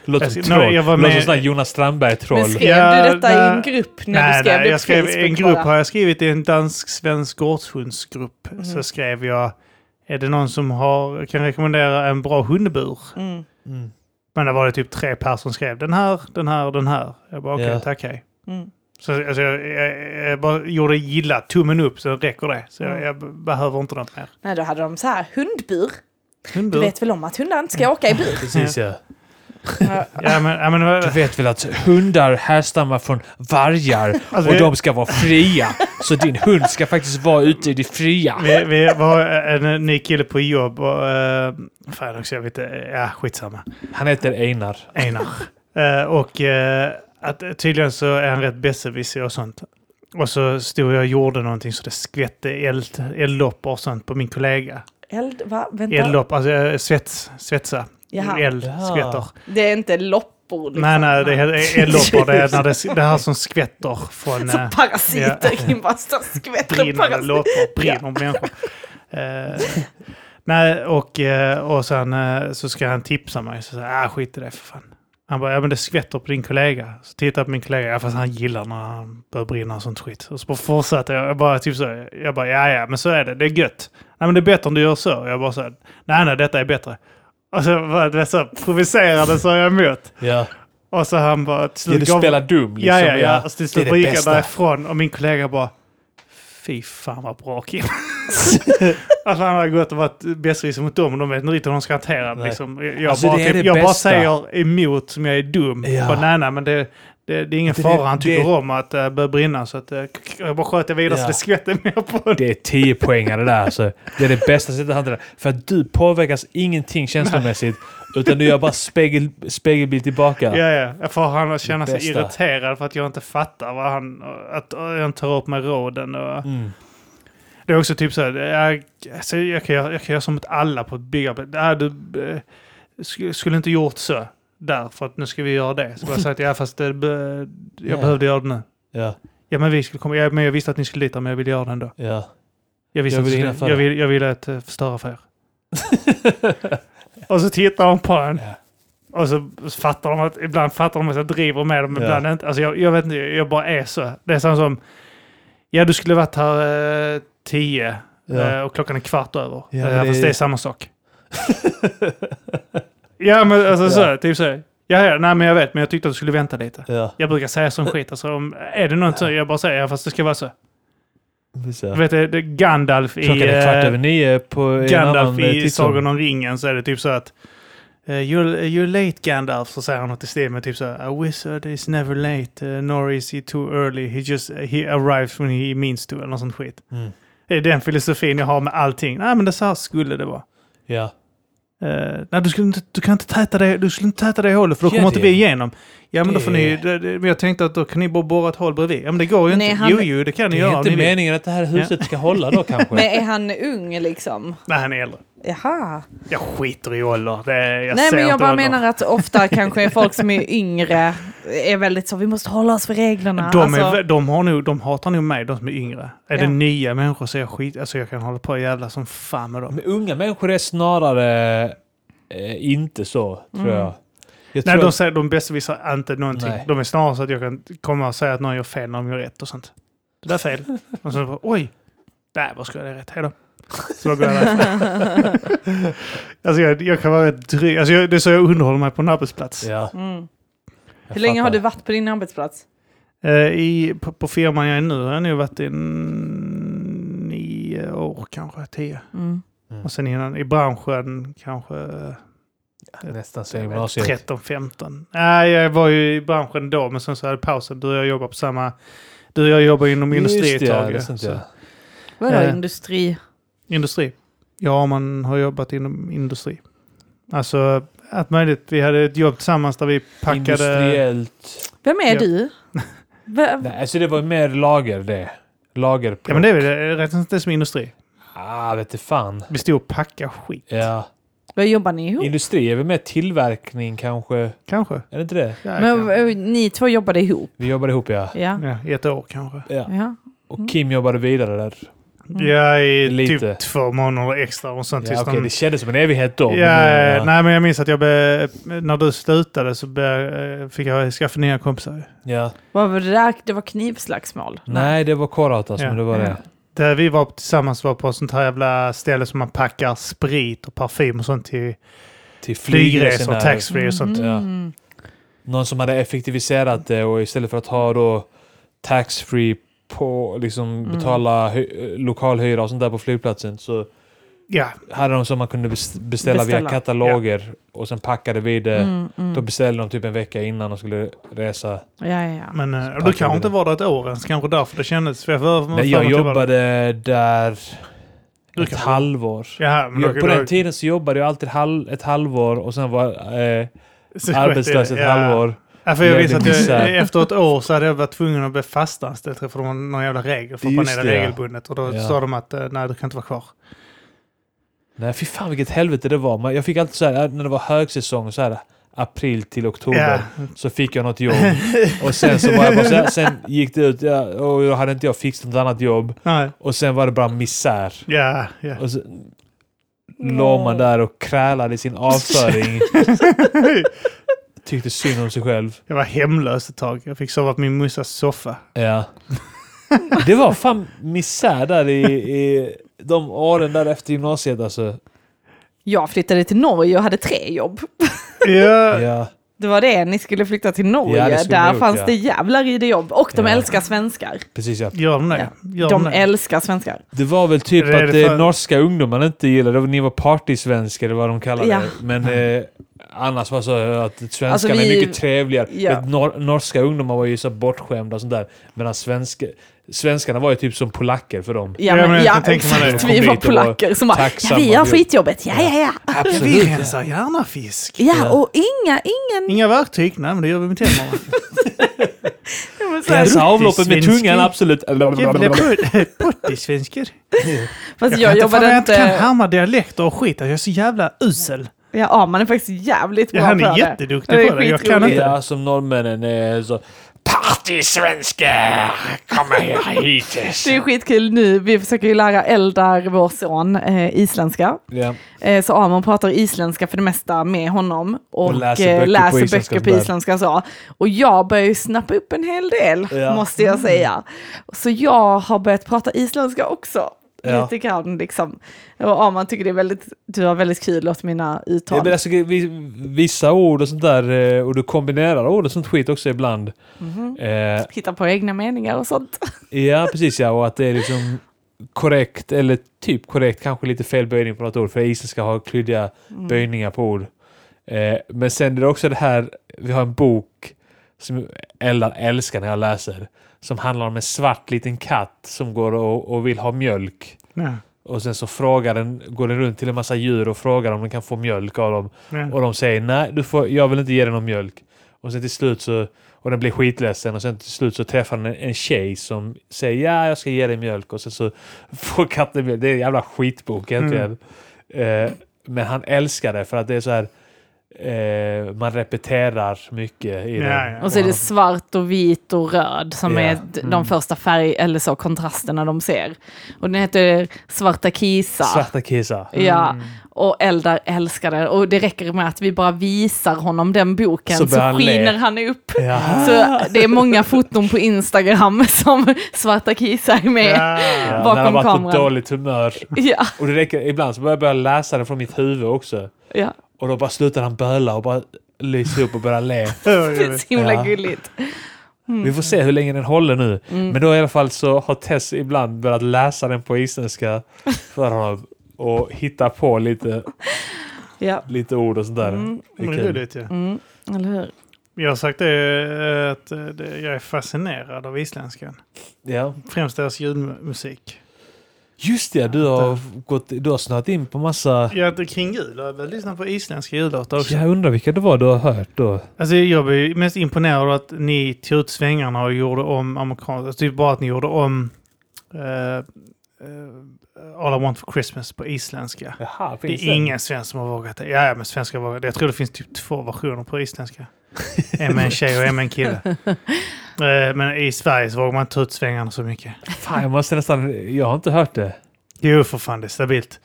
S2: Låter
S3: Jag
S2: som
S3: ska- nej,
S2: troll.
S3: jag var
S2: Låter som
S3: med-
S2: sån här Jonas Strandberg-troll.
S1: Men skrev
S3: Ja,
S1: du detta i en
S3: nej.
S1: grupp när du skrev det på
S3: jag skrev
S1: Facebook
S3: i en grupp
S1: bara?
S3: har jag skrivit i en dansk-svensk gårdshundsgrupp.
S1: Mm.
S3: Så skrev jag, är det någon som har, kan rekommendera en bra hundbur?
S1: Mm,
S2: Mm.
S3: Men det var det typ tre personer som skrev den här, den här, den här. Jag bara okej,
S2: Ja.
S3: tack hej.
S1: mm.
S3: Så alltså, jag, jag, jag bara gjorde gilla, tummen upp så räcker det. Så jag,
S1: Mm.
S3: jag behöver inte något mer.
S1: Nej, då hade de så här, hundbur. Du
S3: Hundbur.
S1: vet väl om att hundar inte ska åka i bur?
S2: Precis ja.
S1: Ja.
S3: Ja, men, ja, men,
S2: Du vet väl att hundar härstammar från vargar
S3: Alltså,
S2: och
S3: vi-
S2: de ska vara fria. Så din hund ska faktiskt vara ute i det fria.
S3: vi, vi var en ny kille på jobb och... Uh, fan också, jag vet inte. Ja, skitsamma.
S2: Han heter Einar.
S3: Einar. Eh, och eh, att, eh, tydligen så är han rätt besserwisser och sånt. Och så stod jag och gjorde någonting så det skvätte eld- eldlopp och sånt på min kollega.
S1: Eld, va? Vänta.
S3: Eldlopp, alltså eh, svets, svetsa.
S1: Jaha.
S3: Eld,
S2: Jaha.
S3: skvätter.
S1: Det är inte loppor liksom.
S3: Nej, nej, det är eldloppor. Det är när det, det här som skvätter från
S1: Så
S3: eh,
S1: parasiter Kim bara står och skvätter
S3: brinnande
S1: parasiter.
S3: loppor, brinner människor. Eh, nej, och, eh, och sen eh, så ska han tipsa mig. Så säger jag, ah, skit i det för fan. Han bara, ja men det skvätter på din kollega. Så tittar jag på min kollega, ja fast han gillar när han börjar brinna och sånt skit. Och så bara fortsatte jag, jag bara typ så, jag bara, ja ja men så är det, det är gött. Nej men det är bättre om du gör så. Jag bara så, här, nej nej detta är bättre. Och så var det så provocerande sa jag emot.
S2: Ja.
S3: Och så han bara, till
S2: Ja, du
S3: gav-
S2: spelar dum liksom.
S3: ja ja Alltså, ja, och så
S2: Det
S3: till
S2: är
S3: slut
S2: det
S3: gick jag
S2: bästa.
S3: därifrån och min kollega bara, fy fan vad bra Kim. att han har gått och varit bästris mot dem och de vet inte riktigt hur de ska hantera det.
S2: Nej.
S3: Liksom. Jag,
S2: Alltså,
S3: bara,
S2: det är
S3: typ,
S2: det
S3: jag bara
S2: bästa.
S3: säger emot som jag är dum.
S2: Ja.
S3: Bara, nej, nej, men det, det, det är ingen
S2: Det-
S3: fara. Han tycker
S2: det-
S3: om att det börjar brinna. Så att, eh, jag bara sköt det vidare så
S2: Ja.
S3: det skvätte mer på honom.
S2: Det är 10 poängar det där alltså. Det är det bästa sättet att hantera det. För att du påverkas ingenting känslomässigt. Utan du gör bara spegel, spegelbild tillbaka.
S3: Ja, ja. Jag får han att känna sig
S2: Bästa.
S3: irriterad för att jag inte fattar vad han... Att jag inte tar upp med råden. Och,
S2: Mm.
S3: Det är också typ så här, jag, alltså, jag, kan, göra- jag kan göra som mot alla på ett byggarbete. Äh, du eh, sk- skulle inte gjort så där, för att nu ska vi göra det. Så bara sagt, ja fast det, be- jag
S2: Ja.
S3: behövde göra det nu.
S2: Ja,
S3: Ja men, vi skulle komma, ja men jag visste att ni skulle dit, men jag ville göra det ändå.
S2: ja.
S3: Jag, visste
S2: Jag
S3: jag,
S2: ville
S3: ville
S2: hinna
S3: skulle,
S2: före.
S3: jag, ville, jag ville att eh, förstöra för er. Och så tittar de på en.
S2: Ja.
S3: Och så fattar de att, ibland fattar de att jag driver med dem,
S2: Ja.
S3: ibland inte. Alltså jag, jag vet inte, jag bara är så. Det är sånt som, ja du skulle varit här eh, tio
S2: Ja.
S3: eh, och klockan är kvart över.
S2: Ja,
S3: Ja,
S2: men det
S3: Fast
S2: är-
S3: det är samma sak. ja men alltså så,
S2: Ja.
S3: typ så. Ja, ja, nej men jag vet, men jag tyckte att du skulle vänta lite.
S2: ja.
S3: Jag brukar säga sån skit, alltså om, är det något så, jag bara säger ja fast det ska vara så.
S2: Precis.
S3: Du vet, det, det, Gandalf i...
S2: Klockan är kvart
S3: eh,
S2: över nio på en annan
S3: Gandalf
S2: eh,
S3: i
S2: tidsordning.
S3: Sagan om ringen så är det typ så att eh, you're, you're late Gandalf, så säger han något i stil med typ så här, A wizard is never late, eh, nor is he too early, he just eh, he arrives when he means to, eller något sånt skit.
S2: Mm.
S3: Det är den filosofin jag har med allting. Nej, men det så här skulle det vara.
S2: Ja.
S3: Eh, nej, du, skulle inte, du kan inte täta det, du skulle inte täta det hålet för då
S2: Ja,
S3: kommer inte
S2: det-
S3: vi igenom. Ja, men då
S2: det-
S3: får ni, det, det, men jag tänkte att då kan ni bara borra ett hål bredvid. Ja, men det går ju
S1: Nej,
S3: inte.
S1: han-
S3: Jo, jo, det kan ni
S2: Det
S3: göra
S2: är
S3: om ni
S2: inte
S3: vill.
S2: meningen att det här huset ska hålla då kanske.
S4: Men är han ung liksom?
S3: Nej, han är äldre.
S4: Jaha.
S3: Jag skiter i ålder. Det, jag
S1: Nej
S3: ser
S1: men jag
S3: inte
S1: bara
S3: ålder.
S1: menar att ofta kanske folk som är yngre är väldigt så, vi måste hålla oss för reglerna.
S3: De, är,
S1: Alltså,
S3: vä- de, har nog, de hatar nog mig, de som är yngre. Är det
S1: Ja.
S3: nya människor så är jag skit... Alltså jag kan hålla på och jävla som fan med dem.
S2: Men unga människor är snarare eh, inte så, tror jag. jag
S3: Mm. Nej,
S2: tror
S3: de,
S2: att,
S3: säger, de besserwissar inte någonting.
S2: Nej.
S3: De är snarare så att jag kan komma och säga att någon gör fel när de gör rätt och sånt. Det där är fel. och så bara, oj! Nej, vad ska jag det är rätt? Hejdå. Så då går jag därifrån. alltså jag, jag kan vara rätt dryg. Alltså jag, det är så jag underhåller mig på en arbetsplats.
S2: ja,
S1: mm.
S2: jag
S1: Hur länge har
S2: fattar.
S1: du varit på din arbetsplats?
S3: Eh, i, på, på firman jag är nu har jag nog varit i mm, nio år kanske, tio.
S2: Mm.
S3: Och sen innan i branschen kanske
S2: Nästan sen
S3: jag vet,
S2: gymnasiet.
S3: 13, 15. Nej, jag var ju i branschen då, men sen så hade jag pausen. Du och jag jobbar på samma... Du och jag jobbar inom
S2: Just
S3: industri
S2: det,
S3: ett tag.
S2: det
S3: ja.
S2: är sant,
S3: Så,
S2: ja.
S1: Vadå
S3: Eh.
S1: industri?
S3: Industri. Ja, man har jobbat inom industri. Alltså, allt möjligt. Vi hade ett jobb tillsammans där vi packade...
S2: Industriellt.
S1: Vem är
S3: Ja.
S1: du? Va-
S2: Nej, alltså det var ju mer lager det. Lager.
S3: Ja, men det är väl det räknas inte det som industri.
S2: Ah, vet du fan.
S3: Vi stod och packade skit.
S2: Ja.
S1: Vad jobbar ni ihop?
S2: Industri är väl mer tillverkning kanske?
S3: Kanske.
S2: Är det inte det?
S3: Ja,
S1: Men,
S3: kanske.
S1: eh, ni två jobbade ihop?
S2: Vi jobbade ihop ja.
S1: Ja.
S3: ja, i ett år kanske.
S2: ja.
S1: ja.
S2: Och Kim jobbade vidare där.
S1: Mm.
S3: Ja, i
S2: Lite.
S3: typ två månader extra och sånt
S2: Ja,
S3: tills
S2: okej,
S3: de
S2: det kändes som en evighet då. men,
S3: Ja,
S2: eh, ja.
S3: Nej, men jag minns att jag be, när du slutade så be, eh, fick jag skaffa nya kompisar.
S2: ja.
S1: Vad var det där? Det var knivslagsmål?
S2: Nej, det var Korautas,
S3: Ja.
S2: men det var det.
S3: Där vi var tillsammans var på ett sånt här jävla ställe som man packar sprit och parfym och sånt till
S2: Till
S3: flygresor,
S2: flygresorna.
S3: taxfree och sånt.
S2: ja.
S1: Mm.
S2: Någon som hade effektiviserat det och istället för att ha då taxfree på, liksom betala hy- lokalhyra och sånt där på flygplatsen så
S3: Ja,
S2: hade de som man kunde bes- beställa, via
S1: Beställa.
S2: kataloger och sen packade vi det.
S1: Mm, mm.
S2: Då beställde de typ en vecka innan de skulle resa.
S1: Ja, ja, ja.
S3: men eh,
S2: packar
S3: du
S2: vi
S3: kanske inte
S2: det.
S3: var där ett år ens. Kanske därför det kändes. För jag var, typ-
S2: Nej, jag jobbade där
S3: Du
S2: ett
S3: kan-
S2: halvår.
S3: Ja, men
S2: Jag,
S3: då-
S2: på
S3: då-
S2: den tiden så jobbade jag alltid halv, ett halvår och sen var eh,
S3: så-
S2: arbetslös ett
S3: ja.
S2: halvår.
S3: Ja, för jag
S2: Jävligt
S3: visste att jag,
S2: misär.
S3: efter ett år så hade jag varit tvungen att bli fastanställd för det var någon jävla regel för att man
S2: Just
S3: är det
S2: det, ja.
S3: regelbundet. Och då
S2: Ja.
S3: sa de att eh, nej, du kan inte vara kvar.
S2: Nej, fy fan vilket helvete det var. Man- Jag fick alltid så här, när det var högsäsong, så här, april till oktober,
S3: Ja.
S2: så fick jag något jobb. och sen så var jag bara så här, sen gick det ut ja, och då hade inte jag fixat något annat jobb.
S3: Nej.
S2: Och sen var det bara misär.
S3: Ja, ja.
S2: Och så låg man där och krälade i sin avföring. tyckte synd om sig själv.
S3: Jag var hemlös ett tag. Jag fick sova på min mussas soffa.
S2: Ja. Det var fan misär där i, i de åren där efter gymnasiet alltså.
S1: Jag flyttade till Norge och hade tre jobb.
S3: Ja,
S2: Ja.
S1: Det var det, ni skulle flytta till
S2: Ja,
S1: Norge.
S2: det skulle
S1: Där
S2: vi gjort,
S1: fanns
S2: ja.
S1: det jävlar i det jobb. Och de
S2: Ja.
S1: älskar svenskar.
S2: Precis ja.
S3: gör de det? Gör
S1: De
S3: det?
S1: älskar svenskar.
S2: Det var väl typ
S3: Det är
S2: att
S3: det
S2: eh,
S3: fan-
S2: norska ungdomar inte gillade det. Ni var partysvenskar, det var vad de kallade
S1: Ja.
S2: det. Men eh, annars var så att svenskarna
S1: Alltså,
S2: är
S1: vi-
S2: mycket trevligare.
S1: Ja.
S2: Vet, Nor norska ungdomar var ju så bortskämda och sånt där. Medan svenska, svenskarna var ju typ som polacker för dem.
S1: Ja,
S3: Ja,
S1: men,
S3: men
S1: ja
S3: jag tänker man
S1: exakt.
S2: det.
S1: Vi
S2: Kom
S1: var
S2: dit och var
S1: polacker som bara, ja,
S2: tacksamma
S1: vi gör
S2: och gjorde-
S1: skitjobbet. Ja, ja, ja.
S3: Ja, vi
S2: Absolut.
S3: rensar gärna fisk.
S1: Ja, och inga, ingen...
S3: Inga verktyg? Nej, men det gör vi med tänderna.
S2: Rensa avloppet med
S3: svenskar.
S2: tungan, absolut.
S3: Jävla puttesvenskar.
S1: Fast
S3: Jag,
S1: jag
S3: jag, jag
S1: jobbade
S3: inte kan
S1: inte...
S3: härma dialekter och skit. Jag är så jävla usel.
S1: Ja, Arman är faktiskt jävligt bra
S3: Ja, han
S1: på
S3: är
S1: det.
S3: jätteduktig på det. Jag kan
S1: skitroligt.
S3: inte.
S2: Ja, som norrmännen är så... Partysvenskar! Kom här hit!
S1: Det är skitkul nu. Vi försöker ju lära Eldar, vår son, eh, isländska.
S2: Ja.
S1: Eh, så Amon pratar isländska för det mesta med honom. Och,
S2: läser
S1: eh,
S2: böcker på
S1: läser
S2: isländska
S1: böcker på
S2: sådär.
S1: isländska. Så. Och jag börjar ju snappa upp en hel del,
S2: Ja.
S1: måste jag säga. Så jag har börjat prata isländska också.
S2: Ja.
S1: Lite grann liksom. Och Arman tycker det är väldigt, du har väldigt kul åt mina uttal.
S2: Ja, men alltså, vi- vissa ord och sånt där, eh, och du kombinerar ord och sånt skit också ibland. Eh,
S1: Hitta på egna meningar och sånt.
S2: ja, precis ja, och att det är liksom korrekt, eller typ korrekt, kanske lite fel böjning på något ord, för isländska har klyddiga böjningar på ord. Eh, men sen är det också det här, vi har en bok som Ella älskar när jag läser, som handlar om en svart liten katt som går och, och vill ha mjölk.
S3: Ja,
S2: Och sen så frågar den, går den runt till en massa djur och frågar om den kan få mjölk av dem.
S3: ja.
S2: Och de säger nej, du får, jag vill inte ge dig någon mjölk. Och sen till slut så, och den blir skitledsen och sen till slut så träffar den en, en tjej som säger ja, jag ska ge dig mjölk och sen så får katten mjölk. Det är en jävla skitbok egentligen.
S3: Mm.
S2: Eh, men han älskar det för att det är så här, eh, man repeterar mycket i den.
S3: Ja, ja.
S1: Och så är det svart och vit och röd som
S2: Ja. Mm.
S1: är d- de första färg eller så kontrasterna de ser. Och den heter Svarta Kisa.
S2: Svarta kissar.
S1: Ja,
S2: Mm.
S1: och Eldar älskar det. Och det räcker med att vi bara visar honom den boken
S2: Så
S1: så,
S2: börjar han le.
S1: skiner han upp.
S2: Ja.
S1: Så det är många foton på Instagram som Svarta Kisa är med. Ja.
S3: Ja.
S2: Ja,
S1: Bakom
S2: när han varit på
S1: kameran.
S2: dåligt humör.
S1: Ja,
S2: Och det räcker, ibland så börjar jag börja läsa det från mitt huvud också.
S1: ja.
S2: Och då bara slutar han böla och bara lyser upp och börjar le.
S1: Det är så himla
S2: Ja.
S1: gulligt.
S2: Vi får
S1: Mm.
S2: se hur länge den håller nu. Men då i alla fall så har Tess ibland börjat läsa den på isländska för honom och hitta på lite,
S1: Ja,
S2: lite ord och sånt där. Det är
S3: Men det är
S2: kul.
S3: roligt, ja.
S1: mm. eller hur?
S3: Jag har sagt det, eh, att eh, det- jag är fascinerad av isländskan.
S2: Ja.
S3: Främst deras ljudmusik.
S2: Just det, du har, gått, du har snöat in på massa...
S3: Ja, det- kring jul har jag väl lyssnat på isländska jullåtar också.
S2: Jag undrar vilka det var du har hört då.
S3: Alltså jag blir mest imponerad av att ni tog ut svängarna och gjorde om amerikanska. Alltså, typ bara att ni gjorde om eh, eh, All I Want For Christmas på isländska.
S2: Jaha,
S3: Det är ingen svensk som har vågat det. Ja, ja, men svenskar vågar det. Jag tror det finns typ två versioner på isländska. En med en tjej och en med en kille. Eh, men i Sverige så vågar man inte ta ut svängarna så mycket.
S2: Fan, jag måste nästan... Jag har inte hört det.
S3: Jo, för fan, det är stabilt.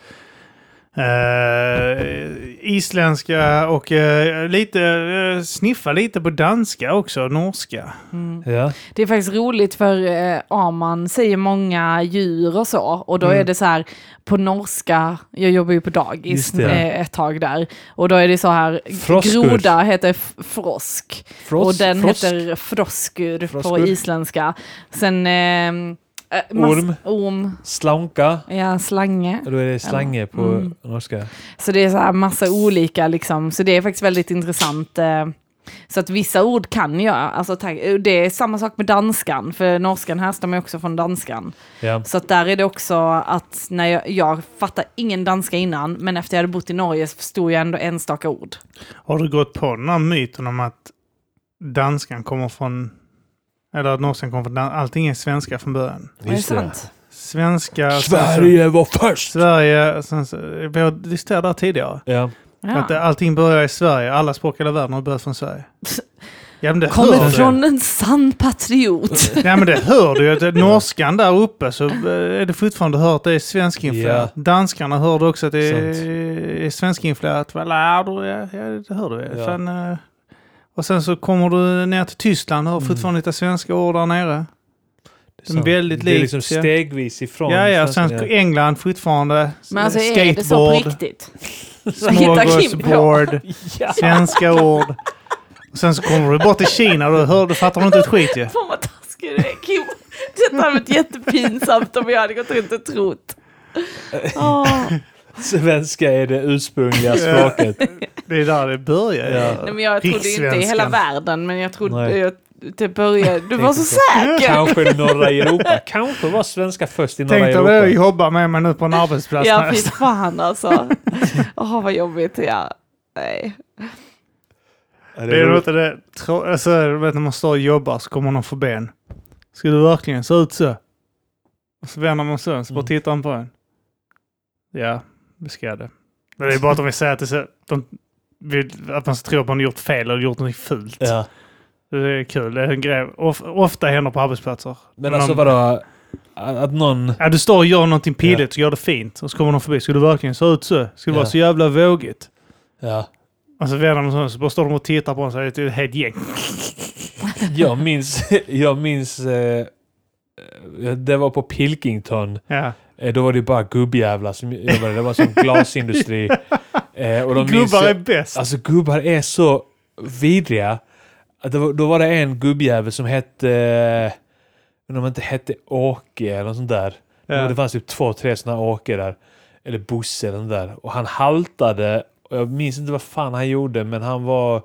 S3: Eh, isländska och eh, lite, eh, sniffa lite på danska också, norska.
S1: Mm.
S2: Ja.
S1: Det är faktiskt roligt för eh, Arman säger många djur och så. Och då
S2: Mm.
S1: är det så här på norska, jag jobbar ju på dagis
S2: Just det.
S1: eh, ett tag där. Och då är det så här,
S2: Froskur.
S1: groda heter f- frosk.
S2: Frost,
S1: och den
S2: frosk.
S1: heter froskur, på
S2: Froskur.
S1: isländska. Sen... Eh, eh,
S2: Orm.
S1: mass- orm.
S2: Slanka.
S1: Ja, slange.
S2: Då är det slange på
S1: Mm.
S2: norska.
S1: Så det är så här massa olika liksom. Så det är faktiskt väldigt intressant. eh, Så att vissa ord kan jag. Alltså, ta- det är samma sak med danskan, för norskan härstammar ju också från danskan.
S2: Ja.
S1: Så att där är det också att när jag, jag fattar ingen danska innan, men efter jag hade bott i Norge så förstod jag ändå enstaka ord.
S3: Har du gått på den här myten om att danskan kommer från... Eller att norskan kommer från dan- Allting är svenska från början.
S1: Är det sant?
S3: Svenska... sen så-
S2: Sverige var först!
S3: Sverige, sen så, vi har diskuterat det här tidigare.
S2: Ja.
S3: Att
S1: Ja.
S3: allting börjar i Sverige, alla språk i hela världen har börjat från Sverige. Ja men det hör
S1: Kommer
S3: du.
S1: från en sann patriot.
S3: Ja men det hör du ju. Att det- Norskan där uppe så eh, är det fortfarande hört att det är svenskinfluerat. Danskarna hör du också att det är, är svenskinfluerat. Vad lär du? Ja, ja, det hör du.
S2: Ja.
S3: Fan, eh, Och sen så kommer du ner till Tyskland och har fortfarande lite svenska ord där nere.
S2: Det är
S3: Den är
S2: sant.
S3: väldigt
S2: Det är
S3: likt,
S2: liksom
S3: ja.
S2: stegvis ifrån.
S3: ja, ja,
S2: svenskan,
S3: sen England fortfarande.
S1: Men alltså är det så på
S3: skateboard,
S1: riktigt? Hittar Kim på?
S3: smörgåsbord,
S2: Ja.
S3: svenska ord. Och sen så kommer du bort till Kina och du, hör, du fattar inte ett skit ju.
S1: Fan vad taskig du är Kim. Det hade varit jättepinsamt om jag hade gått runt och trott. Åh.
S2: Svenska är det ursprungliga språket.
S3: Det är där det börjar.
S2: Ja.
S1: Nej, men jag trodde ju inte i hela
S3: Rikssvenskan.
S1: världen men jag trodde
S2: Nej.
S1: jag, det började. Du var så
S2: Tänkte
S1: säker.
S2: Kanske i norra Europa. Kanske var svenska först i norra
S3: Tänk dig
S2: Europa.
S3: vad jag jobbar med mig nu på en arbetsplats.
S1: Ja
S3: när
S1: fy
S3: jag-
S1: fan alltså. Åh vad jobbigt. Ja. Nej.
S2: Ja,
S3: Det är
S2: roligt.
S3: inte det. Tro, alltså, du vet när man står och jobbar så kommer någon för ben. Ska du verkligen se ut så? Och så vänder man sig om, så bara
S2: Mm.
S3: tittar han på en. Ja, det ska jag det. Men det är bara att de vill säga att, det är så, de vill, att man tror att man har gjort fel eller gjort något fult.
S2: Ja.
S3: Det är kul. Det är en grej. Of, ofta händer på arbetsplatser.
S2: Men alltså
S3: de,
S2: vadå? Att någon...
S3: ja, du står och gör någonting pilligt och gör det fint. Och så kommer någon förbi. Ska du verkligen se ut så? Ska du vara
S2: Ja.
S3: så jävla vågigt?
S2: Ja.
S3: Och så vänder man sig om, så bara står de och tittar på en så är det ett helt gäng.
S2: Jag minns... Jag minns eh, eh, det var på Pilkington.
S3: Ja.
S2: Eh, Då var det bara gubbjävlar som jobbade. Det var som glasindustri. Eh, och de minns-
S3: Gubbar är bäst.
S2: Alltså gubbar är så vidriga. Att det var, då var det en gubbjävel som hette... eh, Men om inte hette Åke eller något sånt där.
S3: Ja.
S2: Det fanns typ två, tre såna Åke där. Eller Bosse eller den där. Och han haltade. Och jag minns inte vad fan han gjorde men han var...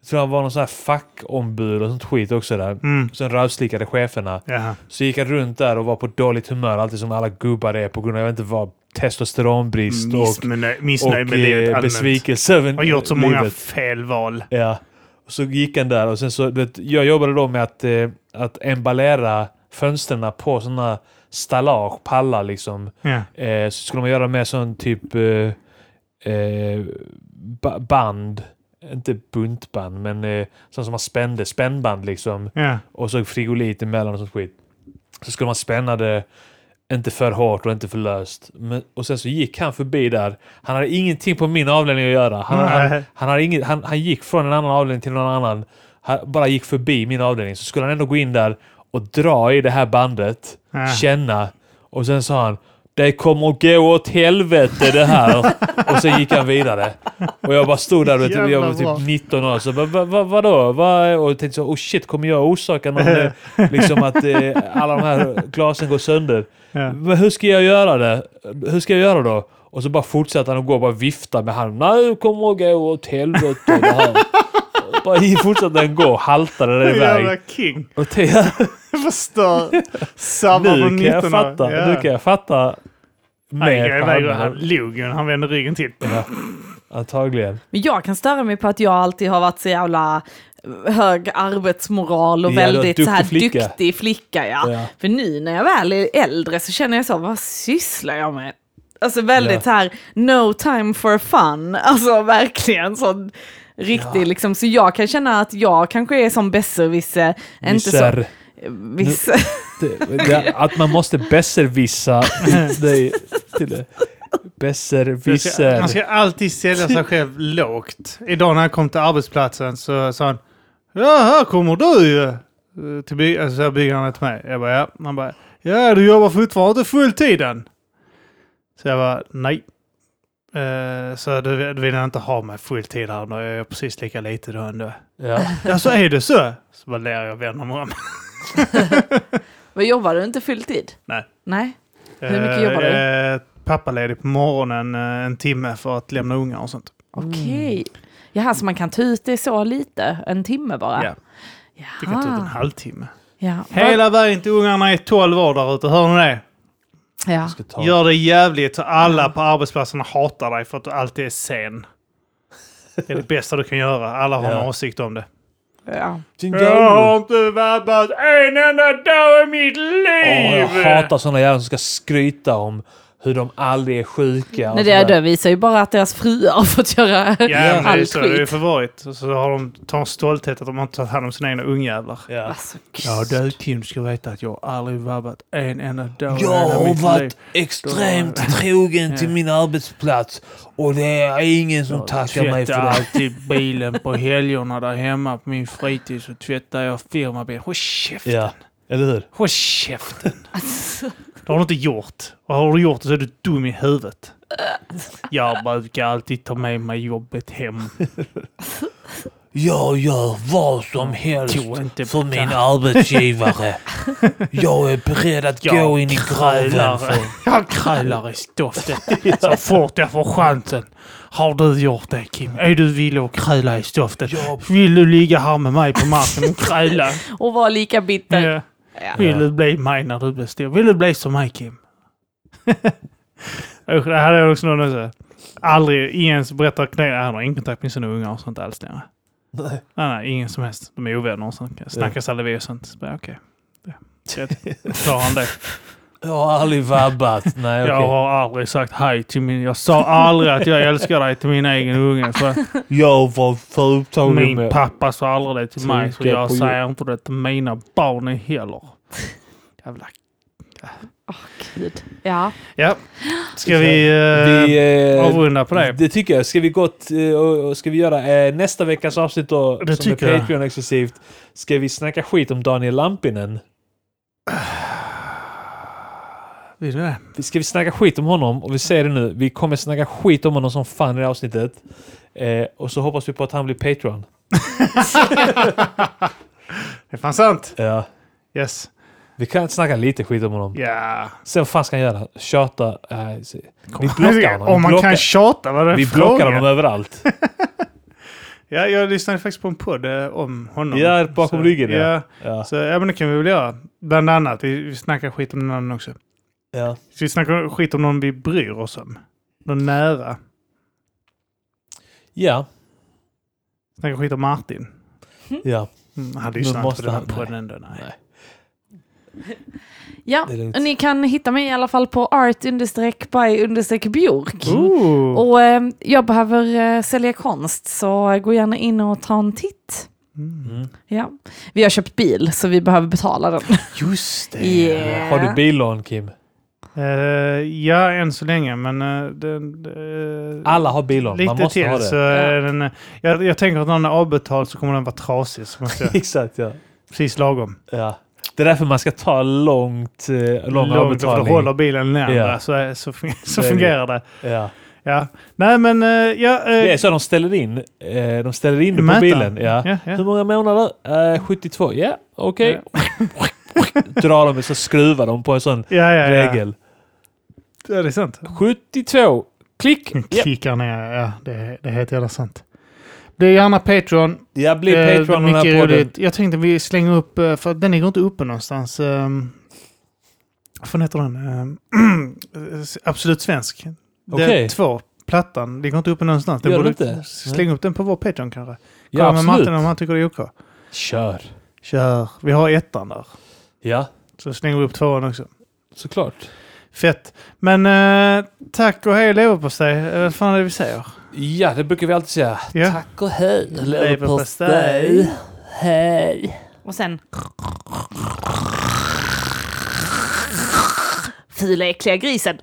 S2: Jag tror han var någon sån här fackombud och sånt skit också där.
S3: Mm.
S2: Sen rövslickade cheferna.
S3: Jaha.
S2: Så gick han runt där och var på dåligt humör. Alltid som alla gubbar är på grund av, jag vet inte vad, testosteronbrist och,
S3: Missnöj,
S2: och
S3: missnöj med livet
S2: eh,
S3: allmänt.
S2: besvikelse över
S3: Har gjort så många
S2: livet.
S3: felval.
S2: Ja. Och så gick han där och sen så, du vet, jag jobbade då med att, eh, att emballera fönstren på sådana stallage, pallar liksom.
S3: Ja.
S2: Eh, så skulle man göra med sån typ eh, eh, ba- band. Inte buntband, men eh, sånt som man spände. Spännband liksom.
S3: Ja.
S2: Och så frigolit emellan och sånt skit. Så skulle man spänna det inte för hårt och inte för löst. Men, och sen så gick han förbi där. Han hade ingenting på min avdelning att göra. Han, han,
S3: Nej.
S2: han, hade ingen, han, han gick från en annan avdelning till någon annan. Han bara gick förbi min avdelning. Så skulle han ändå gå in där och dra i det här bandet.
S3: Ja.
S2: Känna. Och sen sa han det kommer att gå åt helvete det här. och sen gick han vidare. Och jag bara stod där, vet, du, jag var
S3: Jävlar bra.
S2: typ 19 år, så bara, va, va, vadå? Va? Och tänkte så, oh shit, kommer jag orsaka någon, eh, liksom att eh, alla de här glasen går sönder?
S3: Ja.
S2: Men hur ska jag göra det? Hur ska jag göra då? Och så bara fortsätter han att gå och bara vifta med handen. Nej, det kommer att gå åt helvete det här. Och bara fortsatte han gå och haltade där
S3: Jävla
S2: iväg.
S3: king.
S2: Och tänkte,
S3: Förstör. Samma på
S2: nu kan
S3: 19
S2: jag fatta. Nu kan jag fatta.
S3: Han gick
S2: Mer på
S3: iväg och han
S2: handen.
S3: log ju. Han vände ryggen till.
S2: Ja, Antagligen.
S1: Men jag kan störa mig på att jag alltid har varit så jävla hög arbetsmoral och
S2: Ja, du är en
S1: väldigt så här
S2: duktig flicka.
S1: duktig flicka. Ja.
S2: Ja.
S1: För nu när jag väl är äldre så känner jag så, vad sysslar jag med? Alltså väldigt
S2: Ja.
S1: så här, no time for fun. Alltså verkligen sån riktig liksom. Så jag kan känna att jag kanske är som besserwisse. Inte så,
S2: Misär.
S1: viss,
S2: Det, det, att man måste besserwissa dig till det.
S3: Man ska,
S2: Besserwisser.
S3: man ska alltid sälja sig själv lågt. Idag när han kom till arbetsplatsen så sa han Ja, här kommer du ju. Eh, Till by- alltså, så här bygger han till mig. Jag bara, ja. Han bara, ja du jobbar fortfarande fulltiden. Så jag bara, nej. Eh, Så du, du vill inte ha mig fulltid här när jag gör precis lika lite då ändå.
S2: Ja.
S3: Ja, så är det så. Så bara ler jag och vänder mig om.
S1: vad jobbar du inte fulltid?
S3: Nej. Mm.
S1: Nej. Hur mycket jobbar du?
S3: Eh, eh, Pappaledig på morgonen eh, en timme för att lämna ungar och sånt.
S1: Okej. Jaha, så man kan ta ut det så lite? En timme bara?
S3: Ja. Det kan ta ut en
S1: Jaha.
S3: halvtimme.
S1: Ja.
S3: Hela vägen till ungarna är 12 år där ute, hör ni det?
S1: Ja.
S2: Ska ta-
S3: Gör det jävligt så alla på arbetsplatserna hatar dig för att du alltid är sen. Det är det bästa du kan göra. Alla har en
S2: Ja.
S3: åsikt om det.
S1: Ja.
S2: Jag har-
S3: inte vabbat en enda dag i mitt
S2: Åh, jag hatar såna jävlar som ska skryta om hur de aldrig är sjuka. och
S4: Nej, det,
S2: sådär.
S4: det visar ju bara att deras fruar har fått göra
S2: Ja,
S3: Ja, men det är
S4: allt
S3: så det har ju
S4: skit.
S3: förvarit. Och Så har de, tar en stolthet att de har tagit hand om sina egna ungjävlar.
S2: Ja.
S4: Alltså,
S3: Ja du Kim ska veta att jag aldrig vabbat en enda dag
S2: Jag
S3: i hela
S2: har
S3: Alltså, mitt liv.
S2: varit extremt trogen till
S3: Ja.
S2: min arbetsplats och det är ingen som tackar mig för
S3: tvättar
S2: det.
S3: alltid bilen på helgerna där hemma på min fritid så tvättar jag firmabilen. Håll käften!
S2: Ja, eller hur?
S3: Håll käften!
S1: Alltså,
S3: Det har du inte gjort. Och har du gjort det så är du dum i huvudet. Jag brukar alltid ta med mig jobbet hem.
S2: Jag gör vad som helst
S3: Tro inte på
S2: för
S3: det.
S2: min arbetsgivare. Jag är beredd att
S3: Jag
S2: gå in i graven.
S3: krallar.
S2: För...
S3: Jag krälar i stoftet så fort jag får chansen. Har du gjort det Kim? Är du villig att kräla i stoftet?
S2: Ja.
S3: Vill du ligga här med mig på marken och kräla?
S4: och var lika bitter.
S3: Ja. Vill du bli mig när du blir stor? Vill du bli som mig Kim? Usch, det här är också någon som aldrig, ingen ens berättar knä. Han har ingen kontakt med sina ungar och sånt alls längre.
S2: Nej.
S3: Nej, nej, ingen som helst. De är ovänner och sånt. Snackas aldrig vid och sånt. Så bara, Okej. Okay. Tar han det.
S2: Jag har aldrig vabbat. Nej,
S3: Jag
S2: okej.
S3: har aldrig sagt hej till min... Jag sa aldrig att jag älskar dig till min egen unge. För
S2: Jag var för upptagen
S3: min
S2: med...
S3: pappa sa aldrig det till mig. Så
S2: Tänka
S3: jag
S2: på jul.
S3: säger inte det till mina barn heller. Jävla...
S4: Gud. Ja.
S3: Ja. Ska vi, eh,
S2: Vi, eh,
S3: avrunda på det?
S2: Det tycker jag. Ska vi, gott, eh, och- och ska vi göra eh, nästa veckas avsnitt då,
S3: Det
S2: som
S3: tycker
S2: är
S3: jag.
S2: Patreon-exklusivt? Ska vi snacka skit om Daniel Lampinen?
S3: Vill du det?
S2: Ska vi snacka skit om honom? Och vi säger det nu, vi kommer snacka skit om honom som fan i det här avsnittet. Eh, och så hoppas vi på att han blir Patreon.
S3: Det är fan sant.
S2: Ja.
S3: Yes.
S2: Vi kan snacka lite skit om honom.
S3: Ja.
S2: Sen vad fan ska han göra? Tjata? eh, se- vi blockar honom.
S3: Om man
S2: vi
S3: kan
S2: blockar,
S3: tjata, vad är det
S2: vi
S3: för fråga?
S2: blockar honom överallt.
S3: Ja, jag lyssnade faktiskt på en podd eh, om honom.
S2: Ja, bakom
S3: så,
S2: ryggen, ja.
S3: Ja.
S2: Ja.
S3: Så, ja, men det kan vi väl göra. Bland annat, vi, vi snackar skit om någon annan också.
S2: Ja.
S3: Så vi snackar skit om någon vi bryr oss om. Någon nära.
S2: ja,
S3: Snackar skit om Martin.
S2: ja.
S3: Mm, han
S2: Men
S3: lyssnar inte
S2: måste
S3: på den här
S2: han? Nej.
S3: podden ändå. Nej.
S2: Nej.
S4: ja,
S2: Det är lugnt.
S4: ni kan hitta mig i alla fall på art by bjork.
S2: Mm.
S3: Ooh.
S4: Och eh, jag behöver eh, sälja konst så gå gärna in och ta en titt.
S3: Mm.
S2: Mm.
S4: Ja. Vi har köpt bil så vi behöver betala den.
S3: Just det.
S4: Yeah.
S2: Har du billån Kim?
S3: Eh, ja, än så länge, men... eh, den, eh,
S2: Alla har billån. Man
S3: Lite
S2: måste ha
S3: till
S2: det.
S3: så är den... eh, Jag, jag tänker att när den är avbetald så kommer den vara trasig. Så måste jag,
S2: Exakt ja.
S3: precis lagom.
S2: ja. Det är därför man ska ta långt, eh, lång
S3: Långt för då
S2: avbetalning.
S3: håller bilen längre
S2: Ja.
S3: så, är- så, fun-
S2: Så
S3: så
S2: är det.
S3: fungerar det.
S2: Ja.
S3: Ja. Nej men, eh, ja... eh,
S2: Det är så de ställer in. eh, De ställer in det på
S3: Mätaren.
S2: bilen. Ja.
S3: ja,
S2: Hur
S3: ja.
S2: många månader? Eh, 72. Ja, okej. Drar de så skruvar de på en sån
S3: Ja, ja, ja.
S2: regel.
S3: ja, det är sant.
S2: 72. Klick! Ja,
S3: Klickar ner, ja det, är- det är helt jävla sant. Bli gärna Patreon.
S2: ja bli
S3: Eh,
S2: Patreon den här
S3: mycket
S2: podden.
S3: roligt. Jag tänkte vi slänger upp, eh, för den ligger inte uppe någonstans. ehm, Vad fan heter den? Ehm, Absolut svensk. Det är
S2: Okej.
S3: Två, plattan, ligger inte uppe någonstans. Den
S2: Gör den
S3: borde
S2: inte?
S3: Släng upp den på vår Patreon kanske. Kolla
S2: Ja,
S3: med
S2: absolut.
S3: Martin om han tycker det är OK.
S2: Kör.
S3: Kör. Vi har ettan där.
S2: Ja,
S3: Så slänger vi upp tvåan också.
S2: såklart.
S3: Fett. Men eh, tack och hej leverpastej. Eh, Vad fan är det vi säger?
S2: Ja, det brukar vi alltid säga.
S3: Ja.
S2: Tack och hej.
S3: Leverpastej.
S2: Hej.
S4: Och sen... Fula äckliga grisen.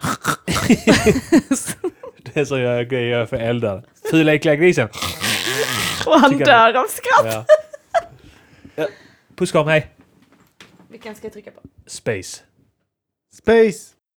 S2: Det är så jag jag gör för eldar. Fula äckliga grisen.
S4: Och han
S2: Tycker jag
S4: dör av skratt.
S2: Ja. Ja. Puss, kram, hej.
S4: Vilken ska jag trycka på?
S2: Space.
S3: Space!